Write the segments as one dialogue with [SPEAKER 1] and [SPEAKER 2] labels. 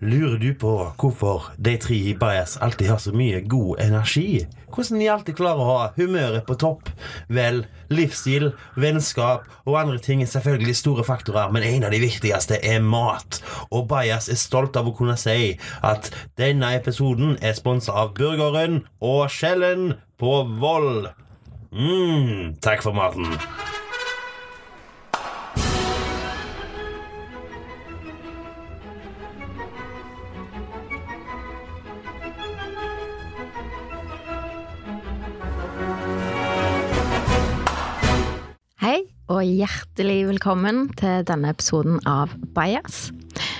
[SPEAKER 1] Lurer du på hvorfor de tre i Bajas alltid har så mye god energi? Hvordan de alltid klarer å ha humøret på topp? Vel, livsstil, vennskap og andre ting er selvfølgelig store faktorer, men en av de viktigste er mat. Og Bajas er stolt av å kunne si at denne episoden er sponsa av burgeren og skjellen på Voll. Mm, takk for maten.
[SPEAKER 2] Hei, og hjertelig velkommen til denne episoden av Bias.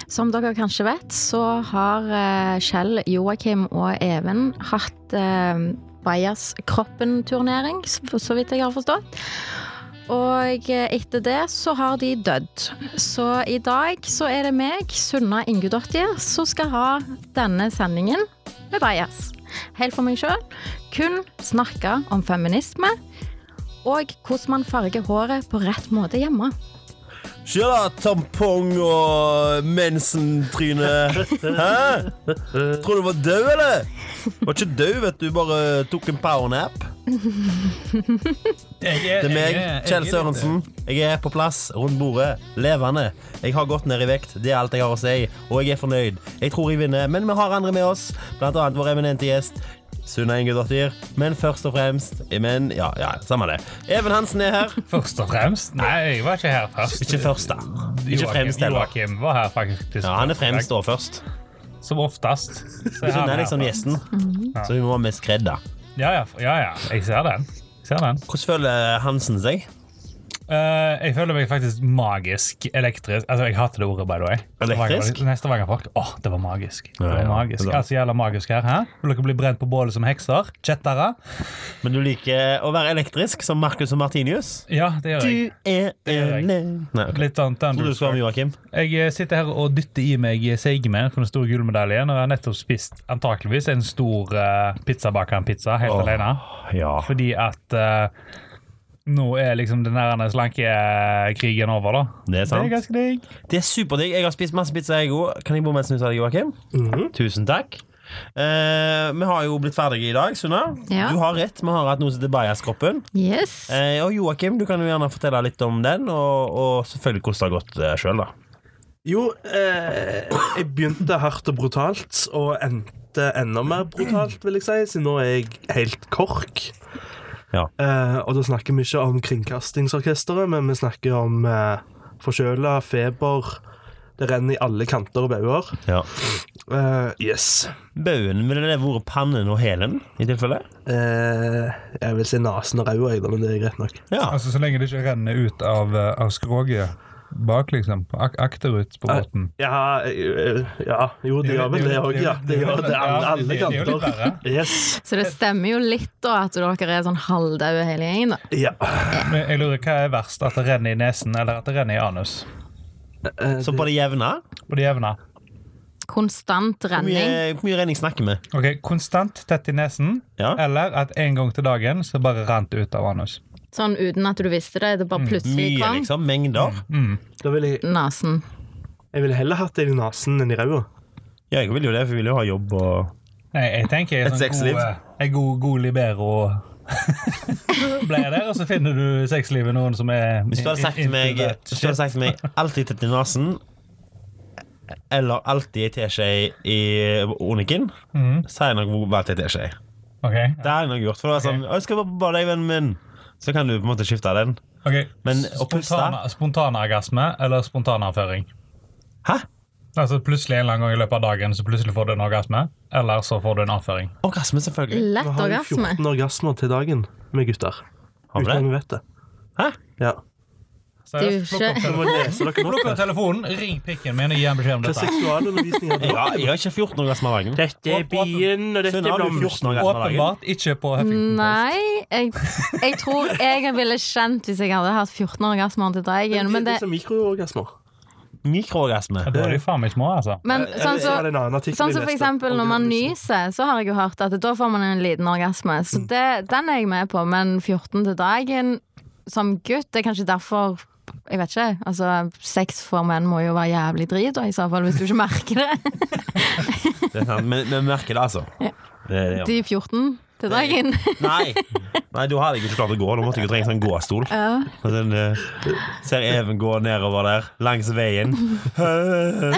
[SPEAKER 2] Som dere kanskje vet, så har eh, Kjell, Joakim og Even hatt eh, Bias-kroppen-turnering, s- for så vidt jeg har forstått. Og eh, etter det så har de dødd. Så i dag så er det meg, Sunna Ingudottir, som skal ha denne sendingen med Bias. Helt for meg sjøl. Kun snakke om feminisme og hvordan man farger håret på rett måte hjemme.
[SPEAKER 3] Ikke da, tampong og mensentryne. Hæ? Tror du var død, eller? Var ikke død, vet du. Bare tok en powernap.
[SPEAKER 4] Jeg
[SPEAKER 3] Det er meg, Kjell Sørensen. Jeg er på plass rundt bordet, levende. Jeg har gått ned i vekt, det er alt jeg har å si, og jeg er fornøyd. Jeg tror jeg vinner, men vi har andre med oss, blant annet vår eminente gjest. Sunna Ingudottir, men først og fremst Men, ja, ja, samme det. Even Hansen er her.
[SPEAKER 4] Først og fremst. Nei, jeg var ikke her først.
[SPEAKER 3] Ikke først, da. Ikke
[SPEAKER 4] Joakim-
[SPEAKER 3] fremst heller.
[SPEAKER 4] Joakim var her faktisk.
[SPEAKER 3] Ja, han er fremst og først.
[SPEAKER 4] Som oftest. Så er
[SPEAKER 3] Sunna
[SPEAKER 4] han her
[SPEAKER 3] er liksom
[SPEAKER 4] først.
[SPEAKER 3] gjesten, så vi må ha med skredd, da.
[SPEAKER 4] Ja, ja, ja, ja. Jeg ser den. Jeg, ser den.
[SPEAKER 3] Hvordan føler Hansen seg?
[SPEAKER 4] Eh, jeg føler meg faktisk magisk elektrisk. Altså, Jeg hater det ordet, by the way.
[SPEAKER 3] Elektrisk?
[SPEAKER 4] Neste gang folk Åh, det var magisk. Det
[SPEAKER 3] Ja,
[SPEAKER 4] var
[SPEAKER 3] ja,
[SPEAKER 4] magisk.
[SPEAKER 3] det er
[SPEAKER 4] Altså, jævla magisk her. Hæ? Vil dere bli brent på bålet som hekser? Kjettere?
[SPEAKER 3] Men du liker å være elektrisk, som Marcus og Martinius?
[SPEAKER 4] Ja, det gjør jeg.
[SPEAKER 3] Du er
[SPEAKER 4] gjør jeg.
[SPEAKER 3] enig Nei, ok.
[SPEAKER 4] Litt sånn
[SPEAKER 3] Trodde du skulle
[SPEAKER 4] Thunderstruck.
[SPEAKER 3] være med Joakim.
[SPEAKER 4] Jeg eh, sitter her og dytter i meg seigmenn fra den store gullmedaljen, og jeg har nettopp spist antakeligvis en stor uh, pizzabakerpizza helt
[SPEAKER 3] Åh.
[SPEAKER 4] alene.
[SPEAKER 3] Ja.
[SPEAKER 4] Fordi at eh, nå er liksom den der slankekrigen eh, over, da.
[SPEAKER 3] Det er sant.
[SPEAKER 4] Det er ganske digg.
[SPEAKER 3] Det er superdigg. Jeg har spist masse pizza, jeg òg. Kan jeg bo med en snus av deg, Joakim? Tusen takk. Eh, vi har jo blitt ferdige i dag, Sunna.
[SPEAKER 2] Ja.
[SPEAKER 3] Du har rett. Vi har hatt noe som heter Bajas-kroppen.
[SPEAKER 2] Yes.
[SPEAKER 3] Eh, og Joakim, du kan jo gjerne fortelle litt om den, og, og selvfølgelig hvordan det har gått eh, sjøl, da.
[SPEAKER 5] Jo, eh, jeg begynte hardt og brutalt, og endte enda mer brutalt, vil jeg si, så nå er jeg helt kork.
[SPEAKER 3] Ja.
[SPEAKER 5] Eh, og da snakker vi ikke om Kringkastingsorkesteret, men vi snakker om eh, forkjøla, feber Det renner i alle kanter og bauger.
[SPEAKER 3] Ja.
[SPEAKER 5] Eh, yes.
[SPEAKER 3] Baugen, ville det vært pannen og hælen i tilfelle?
[SPEAKER 5] Eh, jeg vil si nesen og ræva, jeg, da, men det er greit nok.
[SPEAKER 3] Ja.
[SPEAKER 6] Altså Så lenge det ikke renner ut av, eh, av skroget bak, liksom. på Ak akterut på båten.
[SPEAKER 5] Ja, eh, ja jo, det gjør vel det òg, ja. Det gjør det alle, alle
[SPEAKER 4] Ja, det er jo litt
[SPEAKER 5] kanter.
[SPEAKER 4] verre.
[SPEAKER 5] Yes.
[SPEAKER 2] Så det stemmer jo litt da at dere er sånn halvdaue hele gjengen. da.
[SPEAKER 5] Ja.
[SPEAKER 4] Men jeg lurer, Hva er verst? At det renner i nesen, eller at det renner i anus?
[SPEAKER 5] Eh,
[SPEAKER 3] Så på det jevne?
[SPEAKER 4] På det jevne.
[SPEAKER 2] Konstant
[SPEAKER 3] Hvor
[SPEAKER 2] renning.
[SPEAKER 3] mye, hvor mye renning snakker vi?
[SPEAKER 4] Ok, Konstant tett i nesen,
[SPEAKER 3] Ja.
[SPEAKER 4] eller at en gang til dagen så bare rant ut av anus.
[SPEAKER 2] Sånn uten at du visste det. Det bare plutselig
[SPEAKER 3] Mye,
[SPEAKER 2] kom.
[SPEAKER 3] liksom. Mengder.
[SPEAKER 5] da vil jeg,
[SPEAKER 2] Nesen.
[SPEAKER 5] jeg ville heller hatt det i nesen enn i ræva.
[SPEAKER 3] Ja, jeg vil jo det, for jeg vil jo ha jobb og
[SPEAKER 4] Nei, jeg tenker
[SPEAKER 3] Et
[SPEAKER 4] en sånn
[SPEAKER 3] sexliv.
[SPEAKER 4] god, eh, en god, god libero blir der, og så finner du sexlivet noen som er
[SPEAKER 3] Hvis du hadde sagt til meg, hvis du hadde sagt til meg alltid tett i nesen eller alltid ei teskje i oniken, så hadde jeg nok valgt ei teskje.
[SPEAKER 4] Ok,
[SPEAKER 3] Det hadde jeg nok gjort. For det var sånn «Å, 'Jeg skal bare på badet, jeg, vennen min.' Så kan du på en måte skifte den.
[SPEAKER 4] ok.
[SPEAKER 3] Men
[SPEAKER 4] S-
[SPEAKER 3] å puste?
[SPEAKER 4] spontana- Spontanagasme eller spontanavføring?
[SPEAKER 3] Hæ?
[SPEAKER 4] Altså plutselig en eller annen gang i løpet av dagen så plutselig får du en orgasme, eller så får du en avføring.
[SPEAKER 3] Orgasme, selvfølgelig.
[SPEAKER 5] Vi
[SPEAKER 2] Lett
[SPEAKER 5] har jo
[SPEAKER 2] orgasme.
[SPEAKER 5] 14 orgasmer til dagen med gutter.
[SPEAKER 3] Har vi
[SPEAKER 5] Uten at
[SPEAKER 3] det?
[SPEAKER 5] vi vet det.
[SPEAKER 3] Hæ?
[SPEAKER 5] Ja.
[SPEAKER 4] Seriøst,
[SPEAKER 2] Du
[SPEAKER 4] plukk opp
[SPEAKER 2] skjø-
[SPEAKER 5] Du
[SPEAKER 4] telefonen.
[SPEAKER 5] må lese dere nå.
[SPEAKER 4] Plukk opp telefonen, ring pikken min og gi en beskjed om
[SPEAKER 5] Hva
[SPEAKER 4] dette.
[SPEAKER 5] seksualundervisning er det?
[SPEAKER 3] Ja, jeg har ikke 14 orgasmer av dagen.
[SPEAKER 5] Dette er bien, og dette
[SPEAKER 3] Sunna,
[SPEAKER 5] er
[SPEAKER 3] har du
[SPEAKER 5] blomsten.
[SPEAKER 3] 14 orgasmer av dagen?
[SPEAKER 4] Åpenbart ikke på Huffington Post.
[SPEAKER 2] Nei, jeg, jeg tror jeg ville kjent hvis jeg hadde hatt 14 orgasmer til dagen. Men,
[SPEAKER 5] Det
[SPEAKER 2] det,
[SPEAKER 5] er liksom mikroorgasmer.
[SPEAKER 3] Mikroorgasme.
[SPEAKER 4] Da er de faen meg små, altså.
[SPEAKER 2] men sånn
[SPEAKER 5] Det
[SPEAKER 2] så,
[SPEAKER 5] var en annen artikkel
[SPEAKER 2] sånn
[SPEAKER 5] jeg
[SPEAKER 2] som for
[SPEAKER 5] leste.
[SPEAKER 2] eksempel når man nyser, så har jeg jo hørt at da får man en liten orgasme. Så det, den er jeg med på, men 14 til dagen som gutt, det er kanskje derfor Jeg vet ikke. Altså, sex for menn må jo være jævlig drit, og i så fall hvis du ikke merker det.
[SPEAKER 3] Det er sant, Men vi merker det, altså. Det, er det, ja.
[SPEAKER 2] De 14 til dagen.
[SPEAKER 3] Nei. Nei, da hadde jeg ikke klart å gå. Da måtte jeg jo trenge en sånn gåstol.
[SPEAKER 2] Ja.
[SPEAKER 3] Og Den, eh, ser Even gå nedover der, langs veien.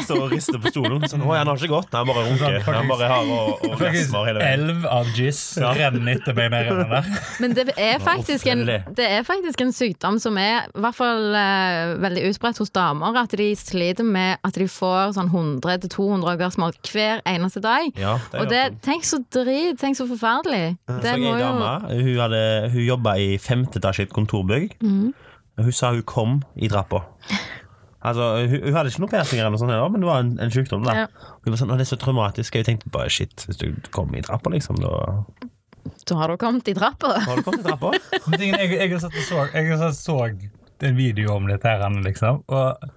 [SPEAKER 3] Står og rister på stolen. Sånn, 'Å, han har ikke gått.' Nei, han bare runker. Han bare har og, og
[SPEAKER 4] Faktisk,
[SPEAKER 3] rasmer hele veien.
[SPEAKER 4] elv av jizz renner etter meg ned gjennom der.
[SPEAKER 2] Men det er, faktisk en,
[SPEAKER 3] offentlig.
[SPEAKER 2] det er faktisk en sykdom som er i hvert fall eh, veldig utbredt hos damer. At de sliter med at de får sånn 100-200 orgasmer hver eneste dag.
[SPEAKER 3] Ja, det
[SPEAKER 2] og
[SPEAKER 3] gjør
[SPEAKER 2] det, tenk så drit, tenk så forferdelig. Det
[SPEAKER 3] Så jeg
[SPEAKER 2] må
[SPEAKER 3] ei
[SPEAKER 2] jo
[SPEAKER 3] dame, hun, hadde, hun jobba i femte etasje i et kontorbygg.
[SPEAKER 2] Mm.
[SPEAKER 3] Hun sa hun kom i trappa. Altså, hun, hun hadde ikke noen piercinger, eller noe sånt heller, men det var en, en sykdom. Da.
[SPEAKER 2] Ja.
[SPEAKER 3] Hun var sånn, «Å, det er så traumatisk. Jeg tenkte bare shit, hvis du kom i trappa, liksom, da
[SPEAKER 2] Da har du kommet i trappa.
[SPEAKER 3] Har du kommet i trappa?
[SPEAKER 4] Men tingen er, Jeg, jeg, har satt og så, jeg har satt og så en video om dette her, liksom. Og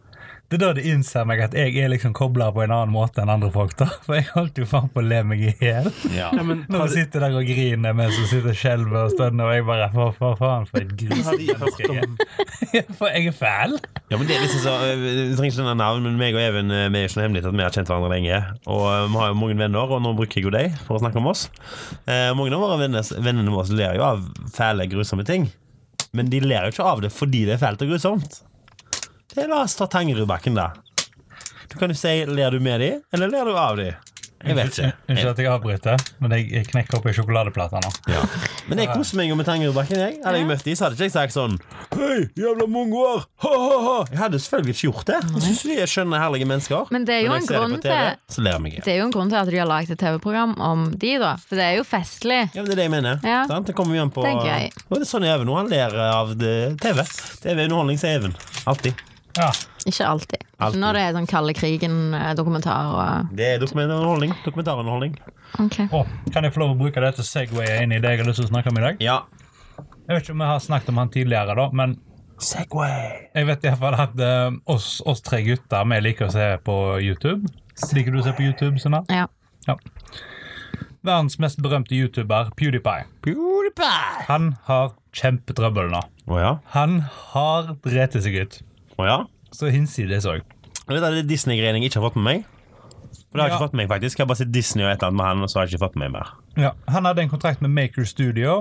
[SPEAKER 4] det er da det innser meg at jeg er liksom kobla på en annen måte enn andre folk. da. For jeg holdt jo faen på å le meg i hjel.
[SPEAKER 5] Ja, men
[SPEAKER 4] Når
[SPEAKER 5] har
[SPEAKER 4] jeg
[SPEAKER 5] de,
[SPEAKER 4] sitter der og griner mens hun sitter og skjelver og stønner, og jeg bare For, for faen, for et gris.
[SPEAKER 5] har de hørt om
[SPEAKER 4] For jeg er fæl.
[SPEAKER 3] Ja, men det er liksom så øh, Vi trenger ikke nevne navn, men meg og Even øh, vi er ikke noe hemmelig til at vi har kjent hverandre lenge. Og øh, vi har jo mange venner, og nå bruker jeg jo deg for å snakke om oss. Eh, mange av våre venner, vennene våre ler jo av fæle, grusomme ting. Men de ler jo ikke av det fordi det er fælt og grusomt. Det er, La oss ta Tangerudbakken, da. Du kan jo si ler du med de, eller ler du av de? Jeg vet ikke.
[SPEAKER 4] Unnskyld at jeg avbryter, men jeg, jeg knekker opp ei sjokoladeplate nå.
[SPEAKER 3] Men jeg koser meg jo med Tangerudbakken. Jeg. Hadde jeg møtt de, så hadde ikke jeg sagt sånn Hei, jævla mongoer! Ha, ha, ha! Jeg hadde selvfølgelig ikke gjort det. Jeg syns de er skjønne, herlige mennesker.
[SPEAKER 2] Men det er jo
[SPEAKER 3] når jeg
[SPEAKER 2] en
[SPEAKER 3] ser
[SPEAKER 2] grunn
[SPEAKER 3] på TV,
[SPEAKER 2] til-
[SPEAKER 3] Så ler jeg meg. igjen.
[SPEAKER 2] Det er jo en grunn til at de har lagd et TV-program om de, da. For det er jo festlig.
[SPEAKER 3] Ja, men det er det jeg mener.
[SPEAKER 2] Ja.
[SPEAKER 3] Sant? Det kommer vi an på
[SPEAKER 2] Det er gøy.
[SPEAKER 3] Og det er sånn Even nå. Han ler av det, TV. TV er underholdning, sier Even. Alltid.
[SPEAKER 4] Ja.
[SPEAKER 2] Ikke alltid.
[SPEAKER 3] Alltid.
[SPEAKER 2] Ikke når det er sånn Kalde krigen-dokumentar og eh,
[SPEAKER 3] Det er dokumentarunderholdning. dokumentarunderholdning.
[SPEAKER 2] Ok.
[SPEAKER 4] Å, kan jeg få lov å bruke det til å segwaye inn i det jeg har lyst til å snakke om i dag?
[SPEAKER 3] Ja.
[SPEAKER 4] Jeg vet ikke om vi har snakket om han tidligere, da, men
[SPEAKER 3] Segway.
[SPEAKER 4] jeg vet i hvert fall at eh, oss, oss tre gutter, vi liker å se på YouTube. Liker du å se på YouTube, Sunna?
[SPEAKER 2] Ja.
[SPEAKER 4] Ja. Verdens mest berømte YouTuber, PewDiePie,
[SPEAKER 3] PewDiePie.
[SPEAKER 4] han har kjempetrøbbel nå.
[SPEAKER 3] Å ja.
[SPEAKER 4] Han har drept seg ut.
[SPEAKER 3] Å ja.
[SPEAKER 4] Så hinsides òg.
[SPEAKER 3] Jeg vet at det er Disney-greiene jeg ikke har fått med meg. For det har jeg ikke
[SPEAKER 4] Ja.
[SPEAKER 3] fått med meg, faktisk. Jeg har bare sett Disney og et eller annet med han, og så har jeg ikke fått med meg mer.
[SPEAKER 4] Ja, han hadde en kontrakt med Maker Studio.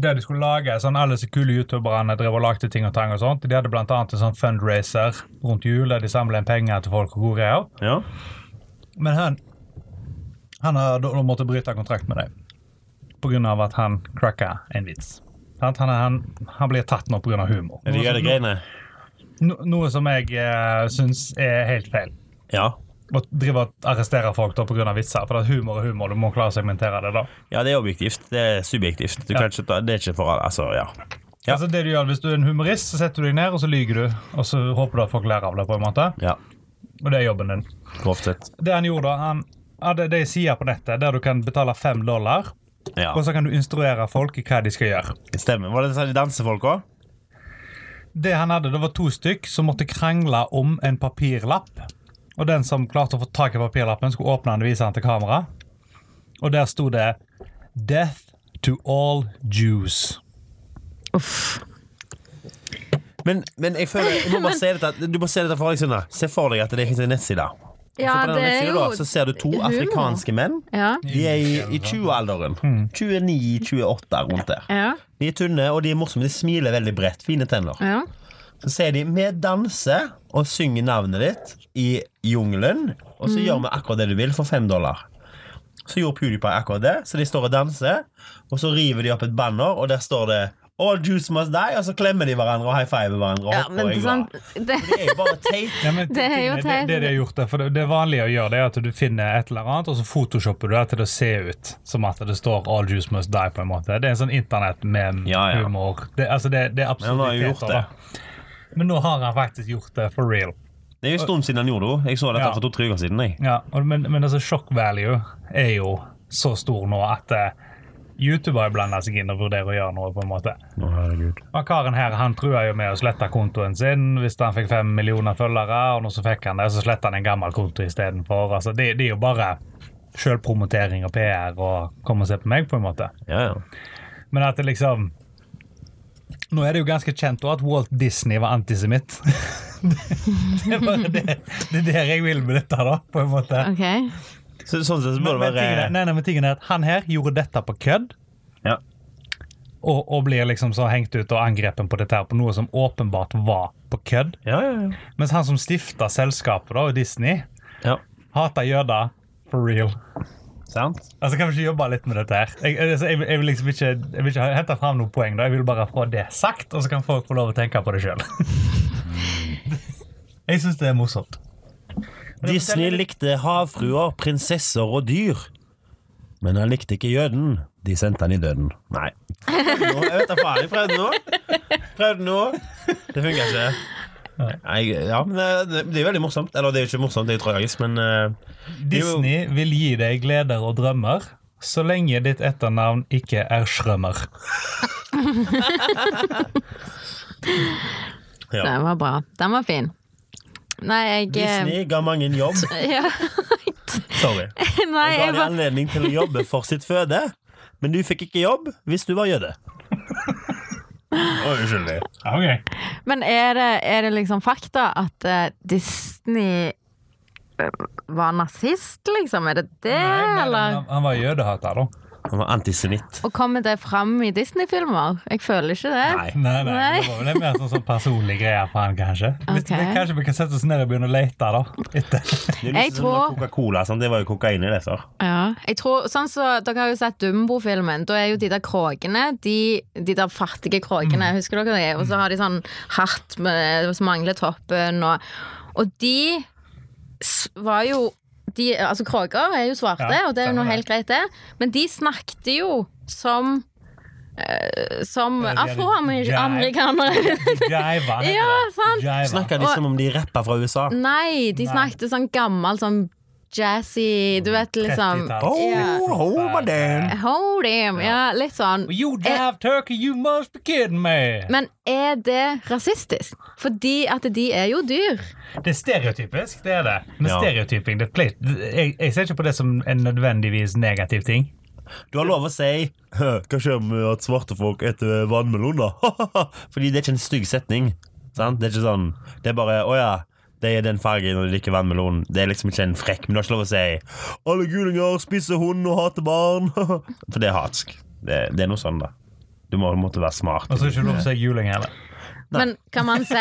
[SPEAKER 4] Der de skulle lage sånn alle disse kule youtuberne drev og lagde ting og tang. og sånt. De hadde blant annet en sånn fundraiser rundt jul der de samla inn penger til folk. og gode greier.
[SPEAKER 3] Ja.
[SPEAKER 4] Men han Han har da, da måtte bryte kontrakt med dem. På grunn av at han cracka en vits. Sant? Han, han, han blir tatt nå på grunn av humor.
[SPEAKER 3] Er det gøy, det greiene?
[SPEAKER 4] No, noe som jeg uh, syns er helt feil.
[SPEAKER 3] Ja.
[SPEAKER 4] Å drive og arrestere folk da på grunn av vitser. For at humor er humor, du må klare å segmentere det. da.
[SPEAKER 3] Ja, det er objektivt. Det er subjektivt. Du
[SPEAKER 4] Ja.
[SPEAKER 3] kan ikke ta, det er ikke for alle. Altså, ja. Ja.
[SPEAKER 4] Altså det du gjør Hvis du er en humorist, så setter du deg ned og så lyger du. Og så håper du at folk lærer av det. på en måte
[SPEAKER 3] ja.
[SPEAKER 4] Og det er jobben din.
[SPEAKER 3] Grovt sett.
[SPEAKER 4] Det han gjorde, da, han hadde det sider på nettet der du kan betale fem dollar,
[SPEAKER 3] Ja.
[SPEAKER 4] og så kan du instruere folk i hva de skal gjøre.
[SPEAKER 3] Det stemmer. Var det sånn de dansefolk òg?
[SPEAKER 4] Det han hadde, det var to stykk som måtte krangle om en papirlapp. Og den som klarte å få tak i papirlappen, skulle åpne den og vise den til kamera. Og der sto det 'Death to all Jews'.
[SPEAKER 2] Uff.
[SPEAKER 3] Men, men jeg føler, jeg må bare se dette, du må se dette for deg, Sunna. Se for deg at det finnes en nettside. så på
[SPEAKER 2] Ja, det
[SPEAKER 3] denne
[SPEAKER 2] er
[SPEAKER 3] nettsiden
[SPEAKER 2] jo
[SPEAKER 3] da, så ser du to
[SPEAKER 2] humor.
[SPEAKER 3] afrikanske menn.
[SPEAKER 2] Ja.
[SPEAKER 3] De er i, i 20-alderen. 29-28 rundt der.
[SPEAKER 2] Ja.
[SPEAKER 3] De er tynne og de er morsomme. De smiler veldig bredt. Fine tenner.
[SPEAKER 2] ja.
[SPEAKER 3] Så sier de 'vi danser og synger navnet ditt i jungelen', og
[SPEAKER 2] Mm.
[SPEAKER 3] så gjør vi akkurat det du vil for fem dollar. Så gjorde PewDiePie akkurat det, så de står og danser, og så river de opp et banner, og der står det 'All Jews Must Die', og så klemmer de hverandre og high fiver hverandre. Og
[SPEAKER 2] ja
[SPEAKER 3] hopper
[SPEAKER 2] men
[SPEAKER 3] og er
[SPEAKER 2] det, er
[SPEAKER 3] glad.
[SPEAKER 2] sant, det,
[SPEAKER 3] Det er jo bare teit.
[SPEAKER 4] Ja, men
[SPEAKER 2] Det er jo
[SPEAKER 4] tingene-
[SPEAKER 2] teit.
[SPEAKER 4] Det, det de har gjort der, for det, det vanlige å gjøre det er at du finner et eller annet, og så photoshopper du det til det ser ut som at det står 'All juice must die'. på en måte. Det er en sånn internett-meme-humor.
[SPEAKER 3] Ja, ja.
[SPEAKER 4] det, altså det, det er
[SPEAKER 3] Men han har jo
[SPEAKER 4] absurditeter,
[SPEAKER 3] gjort det.
[SPEAKER 4] da. Men nå har han faktisk gjort det for real.
[SPEAKER 3] Det er jo en stund siden han gjorde det. Jeg så dette
[SPEAKER 4] Ja.
[SPEAKER 3] for to-tre uker siden. Jeg.
[SPEAKER 4] Ja, og, men, men altså, shock value er jo så stor nå at eh, YouTube har blanda seg inn og vurderer å gjøre noe. på en måte.
[SPEAKER 3] Å, herregud.
[SPEAKER 4] Og Karen her han trua jo med å slette kontoen sin hvis han fikk fem millioner følgere. Og nå så fikk han det, så sletta han en gammel konto istedenfor. Altså, det, det er jo bare sjølpromotering og PR og kom og se på meg, på en måte.
[SPEAKER 3] Ja, ja.
[SPEAKER 4] Men at det liksom Nå er det jo ganske kjent også at Walt Disney var antisemitt. det, det, er bare det, det er der jeg vil med dette, da, på en måte.
[SPEAKER 2] OK.
[SPEAKER 3] Så, sånn sett så må det
[SPEAKER 4] Men, men tingen
[SPEAKER 3] være
[SPEAKER 4] er, nei, nei, men tingen er at han her gjorde dette på kødd.
[SPEAKER 3] Ja.
[SPEAKER 4] Og, og blir liksom så hengt ut og angrepet på dette her på noe som åpenbart var på kødd.
[SPEAKER 3] Ja, ja, ja.
[SPEAKER 4] Mens han som stifta selskapet, da, Disney,
[SPEAKER 3] Ja.
[SPEAKER 4] hata jøder for real.
[SPEAKER 3] Sant?
[SPEAKER 4] Altså, Kan vi ikke jobbe litt med dette her? Jeg, altså, jeg, vil- jeg vil liksom ikke, jeg vil ikke hente fram noe poeng, da. Jeg vil bare få det sagt, og så kan folk få lov å tenke på det sjøl. jeg syns det er morsomt.
[SPEAKER 3] Disney likte havfruer, prinsesser og dyr. Men han likte ikke jøden. De sendte han i døden. Nei. Nå, jeg vet da faen. Jeg prøvde nå. Prøvde nå. Det funker ikke. Nei, ja, men eh, det, det er veldig morsomt. Eller det er jo ikke morsomt, det er jo tragisk, men eh, det er jo-
[SPEAKER 4] Disney vil gi deg gleder og drømmer så lenge ditt etternavn ikke er Schrømmer.
[SPEAKER 3] Ja.
[SPEAKER 2] Den var bra. Den var fin. Nei, jeg eh,
[SPEAKER 3] Disney ga mange en jobb.
[SPEAKER 2] Ja.
[SPEAKER 3] Sorry.
[SPEAKER 2] Nei,
[SPEAKER 3] Ga
[SPEAKER 2] jeg
[SPEAKER 3] de
[SPEAKER 2] bare
[SPEAKER 3] anledning til å jobbe for sitt føde, men du fikk ikke jobb hvis du var jøde. Å, Unnskyld.
[SPEAKER 4] Okay.
[SPEAKER 2] Men er det, er det liksom fakta at eh, Disney eh, var nazist, liksom? Er det det, eller?
[SPEAKER 4] han, han var jødehater, da.
[SPEAKER 3] Han var antisemitt.
[SPEAKER 2] Og kommer det fram i Disney-filmer? Jeg føler ikke det.
[SPEAKER 3] Nei.
[SPEAKER 4] Nei, nei,
[SPEAKER 2] Nei.
[SPEAKER 4] Det var vel en mer sånn, sånn personlig greie for han, kanskje. Hvis-
[SPEAKER 2] Ok.
[SPEAKER 4] men Kanskje vi kan sette oss ned og begynne å lete, da. Etter.
[SPEAKER 3] Det er litt sånn
[SPEAKER 2] Jeg
[SPEAKER 3] med
[SPEAKER 2] tror-
[SPEAKER 3] Coca-Cola, sant? det var jo kokain i det. Så.
[SPEAKER 2] Ja, jeg tror, sånn så, Dere har jo sett Dumbo-filmen. Da er jo de der kråkene, de, de der fattige kråkene,
[SPEAKER 4] Mm.
[SPEAKER 2] husker dere det? Og så har de sånn hatt med- som mangler toppen, og, og de s- var jo de, Altså, kråker er jo svarte, og
[SPEAKER 4] Ja,
[SPEAKER 2] det er jo noe
[SPEAKER 4] stemmer
[SPEAKER 2] helt greit, det. Men de snakket jo som eh, som
[SPEAKER 4] Ja, de hadde
[SPEAKER 2] afroamerikanere.
[SPEAKER 4] Jiva.
[SPEAKER 2] Ja, sant.
[SPEAKER 3] Snakker de
[SPEAKER 2] Og-
[SPEAKER 3] som om de rapper fra USA?
[SPEAKER 2] Nei, de
[SPEAKER 4] Nei.
[SPEAKER 2] snakket sånn gammel, sånn jazzy Du vet, liksom.
[SPEAKER 4] 30-tall.
[SPEAKER 3] Oh,
[SPEAKER 2] Ja.
[SPEAKER 3] oh, my damn.
[SPEAKER 2] Hold him. Ja, litt sånn.
[SPEAKER 4] You jive turkey, you must be kidding me!
[SPEAKER 2] Men er det rasistisk? Fordi at de er jo dyr.
[SPEAKER 4] Det er stereotypisk, det er det. Men
[SPEAKER 3] Ja.
[SPEAKER 4] stereotyping, det er pleit. Jeg, jeg ser ikke på det som en nødvendigvis negativ ting.
[SPEAKER 3] Du har lov å si «Hø, Hva skjer med at svarte folk etter vannmelon, da? Fordi det er ikke en stygg setning. Sant? Det er ikke sånn Det er bare Å ja, de er den fargen og de liker vannmelon. Det er liksom ikke en frekk, men du har ikke lov å si Alle gulinger spiser hund og hater barn. For det er hatsk. Det, det er noe sånn, da. Du må, måtte være smart.
[SPEAKER 4] Og så er
[SPEAKER 5] Altså-
[SPEAKER 4] det ikke lov til å si juling heller.
[SPEAKER 2] Men kan man si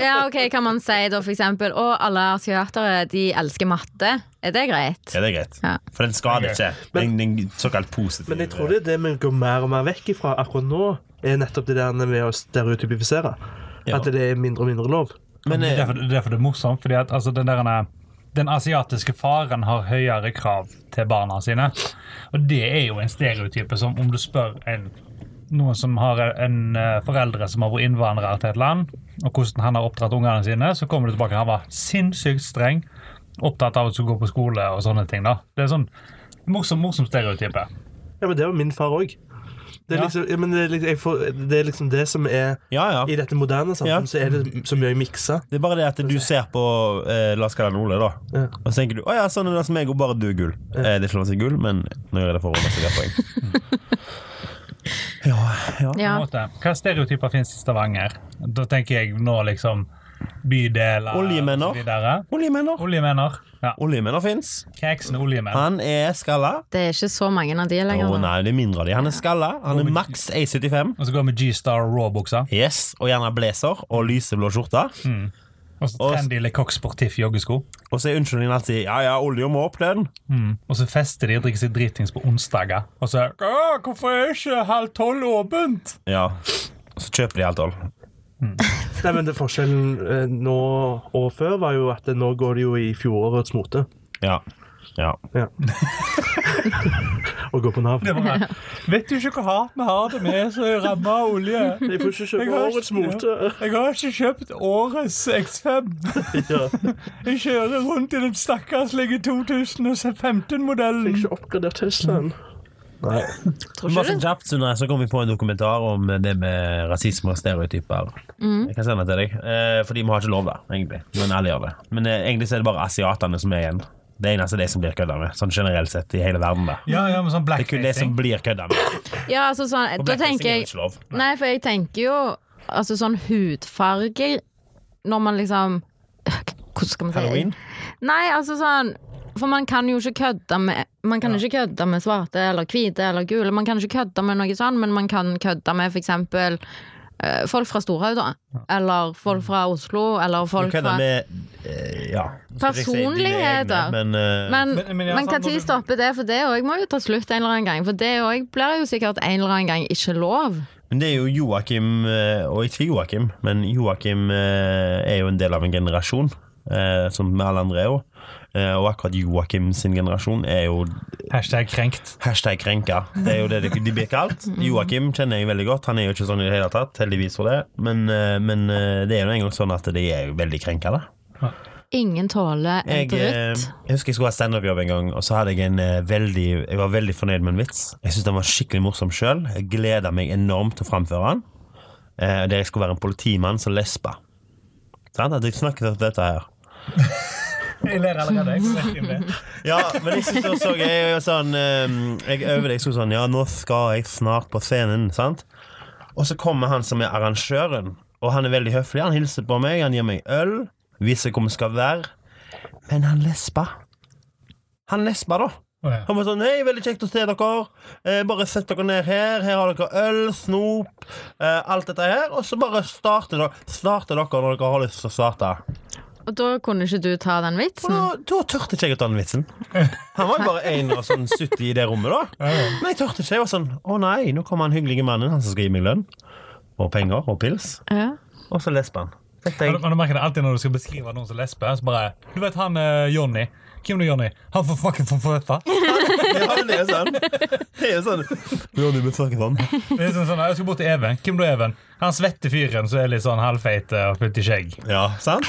[SPEAKER 2] Ja, ok, kan man si da for eksempel Å, alle asiatere, de elsker matte. Er det greit?
[SPEAKER 3] Ja, det er greit.
[SPEAKER 2] Ja.
[SPEAKER 3] For den skader ikke. Den, den såkalt positive
[SPEAKER 5] Men jeg tror det er det vi går mer og mer vekk ifra akkurat nå, er nettopp det der med å stereotypifisere.
[SPEAKER 3] Ja.
[SPEAKER 5] At det er mindre og mindre lov.
[SPEAKER 3] Men,
[SPEAKER 4] det, er
[SPEAKER 3] eh,
[SPEAKER 4] derfor, det er derfor det er morsomt, fordi at altså, den der den asiatiske faren har høyere krav til barna sine. Og det er jo en stereotype som om du spør en, noen som har en eh, foreldre som har vært innvandrere til et land, og hvordan han har oppdratt ungene sine, så kommer du tilbake han var sinnssykt streng, opptatt av at du skulle gå på skole og sånne ting. da. Det er sånn morsom, morsom stereotype.
[SPEAKER 5] Ja, men det var min far òg. Det, er
[SPEAKER 4] Ja.
[SPEAKER 5] liksom, ja, men det, er liksom, jeg får, det er liksom det som er
[SPEAKER 3] ja, ja.
[SPEAKER 5] I dette moderne
[SPEAKER 3] Ja.
[SPEAKER 5] samfunnet så er det så mye miksa.
[SPEAKER 3] Det er bare det at du ser på eh, La oss kalle han Ole, da.
[SPEAKER 5] Ja.
[SPEAKER 3] Og så tenker du å ja, sånn er det som meg, og bare du er gull. Eh, det er ikke lov å si gull, men nå gjør jeg det for å runde seg poeng. Ja, ja.
[SPEAKER 4] på
[SPEAKER 2] Ja.
[SPEAKER 4] en måte. Hva stereotyper finnes i Stavanger? Da tenker jeg nå liksom bydeler
[SPEAKER 3] Oljemenner.
[SPEAKER 4] og så videre.
[SPEAKER 3] Oljemenner.
[SPEAKER 4] Oljemenner. Ja.
[SPEAKER 3] Oljemenner fins.
[SPEAKER 4] Kjeksen er oljemenn.
[SPEAKER 3] Han er skalla.
[SPEAKER 2] Det er ikke så mange av de
[SPEAKER 3] Å
[SPEAKER 2] lenger. nå.
[SPEAKER 3] nei, det er mindre av de. Han er skalla. Han er maks A75.
[SPEAKER 4] Og så går vi G-Star Raw-buksa.
[SPEAKER 3] Yes, Og gjerne blazer og lyseblå skjorte.
[SPEAKER 4] Og så
[SPEAKER 3] Og-
[SPEAKER 4] trendy Lecoq Sportif joggesko. Mm.
[SPEAKER 3] Og så er unnskyldningen alltid ja ja, olja må opp, den.
[SPEAKER 4] Og så fester de og drikker seg dritings på onsdager. Og så er «Åh, Hvorfor er ikke halv tolv åpent?
[SPEAKER 3] Ja. Og så kjøper de alt tolv.
[SPEAKER 5] Nei, men det Forskjellen eh, nå og før var jo at nå går det jo i fjorårets mote
[SPEAKER 3] Ja. ja.
[SPEAKER 5] å gå på Nav.
[SPEAKER 4] Det var rart. Vet du ikke hvor hardt vi har det med som er ramma av olje?
[SPEAKER 5] Jeg får ikke
[SPEAKER 4] Jeg
[SPEAKER 5] kjøpe
[SPEAKER 4] har
[SPEAKER 5] årets
[SPEAKER 4] ikke-
[SPEAKER 5] mote.
[SPEAKER 4] Jeg har ikke kjøpt årets X5.
[SPEAKER 5] Ja.
[SPEAKER 4] Jeg kjører rundt i den stakkarslige 2015-modellen.
[SPEAKER 5] Ikke oppgradert Teslaen. Nei.
[SPEAKER 2] Tror ikke
[SPEAKER 3] Masse
[SPEAKER 2] du?
[SPEAKER 3] kjapt, Sunne, eh, så kom vi på en dokumentar om eh, det med rasisme og stereotyper.
[SPEAKER 2] Mm.
[SPEAKER 3] Jeg kan sende den til deg. Eh, fordi vi har ikke lov, da, egentlig. Men alle gjør det. Men eh, egentlig så er det bare asiatene som er igjen. Det er eneste de som blir kødda med, sånn generelt sett i hele verden. da
[SPEAKER 4] Ja, ja, men sånn
[SPEAKER 3] Det er kun de som
[SPEAKER 4] blackfacing.
[SPEAKER 3] blir kødda med.
[SPEAKER 2] Ja, altså sånn
[SPEAKER 3] Og
[SPEAKER 2] Da
[SPEAKER 3] blackfacing
[SPEAKER 2] tenker
[SPEAKER 3] er jo
[SPEAKER 2] jeg
[SPEAKER 3] ikke lov.
[SPEAKER 2] Nei, for jeg tenker jo Altså sånn hudfarge Når man liksom Hvordan skal man si det?
[SPEAKER 3] Halloween?
[SPEAKER 2] Nei, altså sånn For man kan jo ikke kødde med Man kan ikke kødde med svarte eller hvite eller gule Man kan ikke kødde med noe sånn Men man kan kødde med for eksempel eh, Folk fra Storhaug da Eller folk fra Oslo Eller
[SPEAKER 3] Du
[SPEAKER 2] folk fra
[SPEAKER 3] kødder med eh, ja. Nå skal jeg ikke si dine
[SPEAKER 2] Personligheter.
[SPEAKER 3] egne, Men, eh,
[SPEAKER 2] men,
[SPEAKER 4] Men- men
[SPEAKER 2] men,
[SPEAKER 4] ja, sant,
[SPEAKER 2] kan
[SPEAKER 4] når
[SPEAKER 2] tid
[SPEAKER 4] du-
[SPEAKER 2] stoppe det, for det også må jo ta slutt en eller annen gang For det også blir jo sikkert en eller annen gang ikke lov
[SPEAKER 3] men det er jo Joakim eh, Og ikke Joakim, men Joakim eh, er jo en del av en generasjon, eh, som vi alle andre er jo. Eh, Og akkurat Joakim sin generasjon er jo
[SPEAKER 4] Hashtag krenkt.
[SPEAKER 3] Hashtag krenka. Det er jo det de de blir kalt. Joakim kjenner jeg veldig godt. Han er jo ikke sånn i det hele tatt, heldigvis for det. Men, eh, men eh, det er jo en gang sånn at de er jo veldig krenka, da.
[SPEAKER 2] Ingen tåler en
[SPEAKER 3] Jeg, eh,
[SPEAKER 2] dritt
[SPEAKER 3] jeg husker jeg skulle ha standup-jobb en gang, og så hadde jeg en eh, veldig Jeg var veldig fornøyd med en vits. Jeg syntes den var skikkelig morsom sjøl. Jeg gleda meg enormt til å framføre den. Eh, der jeg skulle være en politimann som lesba. Sant? At jeg snakket om dette her.
[SPEAKER 4] Jeg ler allerede. jeg vet ikke om det.
[SPEAKER 3] Ja, men jeg synes også jeg, er jo sånn, eh, jeg øver deg sånn Ja, nå skal jeg snart på scenen, sant? Og så kommer han som er arrangøren Og han er veldig høflig, han hilser på meg Han gir meg øl, viser hvor vi skal være Men han lesba Han lesba da
[SPEAKER 4] Å, ja.
[SPEAKER 3] han var sånn, hei, veldig kjekt å se dere eh, Bare sett dere ned her Her har dere øl, snop eh, Alt dette her Og så bare starter dere, starter dere når dere har lyst til å starte
[SPEAKER 2] Og da kunne ikke du ta den
[SPEAKER 3] og
[SPEAKER 2] vitsen?
[SPEAKER 3] da, da tørte ikke jeg å ta den vitsen. Han var jo bare en og sånn 70 i det rommet, da. Men jeg tørte ikke. Jeg var sånn Å nei, nå kommer han hyggelige mannen, han som skal gi meg lønn. Og penger og pils.
[SPEAKER 2] Ja.
[SPEAKER 3] Og så lesper han. Dette
[SPEAKER 4] Men,
[SPEAKER 3] er-
[SPEAKER 4] men du merker det alltid når du skal beskrive noen som lesbe. Så bare, du vet han eh, Johnny. Hvem er Johnny? Han får fucking for føtta.
[SPEAKER 3] Ja, men det er sånn. Det er jo sånn. Ja, du bør snakke sånn.
[SPEAKER 4] Det er sånn, sånn, jeg skal bort til Even. Hvem er du, Even? Han svette fyren som er litt sånn halvfeit eh, og fullt i skjegg.
[SPEAKER 3] Ja, sant?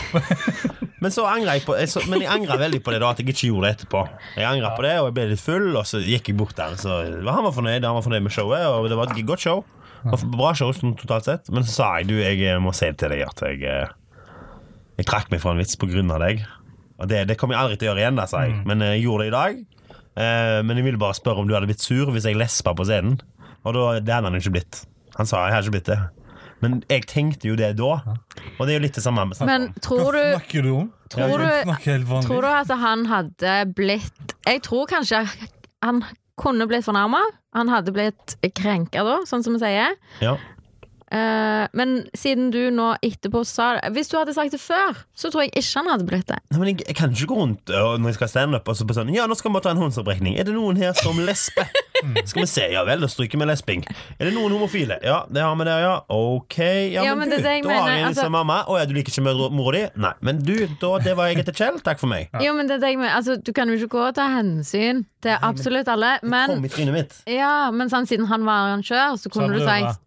[SPEAKER 3] Men så angrer jeg på jeg så, Men jeg angrer veldig på det, da at jeg ikke gjorde det etterpå. Jeg angrer på det, og jeg ble litt full, og så gikk jeg bort der. Så han var fornøyd, han var fornøyd med showet, og det var et godt show. Det var Bra show sånn totalt sett, men så sa jeg du, jeg eh, må si det til deg at jeg eh, Jeg trakk meg fra en vits på grunn av deg. Og det, det kommer jeg aldri til å gjøre igjen, da, sa jeg. Men eh, jeg gjorde det i dag. Eh, men jeg ville bare spørre om du hadde blitt sur hvis jeg lespa på scenen. Og da, det hadde han jo ikke blitt. Han sa jeg hadde ikke blitt det. Men jeg tenkte jo det da. Og det er jo litt det samme. vi snakker om.
[SPEAKER 2] Men tror
[SPEAKER 4] Hva
[SPEAKER 2] du,
[SPEAKER 4] snakker du om?
[SPEAKER 2] Tror du-
[SPEAKER 4] Jeg snakker helt vanlig.
[SPEAKER 2] tror du at han hadde blitt Jeg tror kanskje han kunne blitt fornærma. Han hadde blitt krenka da, sånn som vi sier.
[SPEAKER 3] Ja.
[SPEAKER 2] Eh, men siden du nå etterpå sa det Hvis du hadde sagt det før, så tror jeg ikke han hadde blitt det.
[SPEAKER 3] Nei, men jeg, jeg kan ikke gå rundt øh, og, når jeg skal stand up og så på sånn Ja, nå skal vi ta en håndsopprekning. Er det noen her som lesber? Skal vi se, ja vel, da stryker vi lesbing. Er det noen homofile? Ja, det har vi der, ja. Ok. Ja,
[SPEAKER 2] Ja, men
[SPEAKER 3] men,
[SPEAKER 2] det er
[SPEAKER 3] du,
[SPEAKER 2] det jeg
[SPEAKER 3] da har
[SPEAKER 2] mener,
[SPEAKER 3] jeg en
[SPEAKER 2] altså-
[SPEAKER 3] som mamma. Å ja, du liker ikke mødre- mora di? Nei. Men du, da, det var jeg etter Kjell. Takk for meg.
[SPEAKER 2] Jo, men det er det jeg mener. Altså, du kan jo ikke gå og ta hensyn til absolutt alle.
[SPEAKER 3] Kom
[SPEAKER 2] Men,
[SPEAKER 3] i trynet mitt.
[SPEAKER 2] ja, men sånn, siden han var arrangør, så
[SPEAKER 4] Sa
[SPEAKER 2] kunne du
[SPEAKER 4] det
[SPEAKER 2] sagt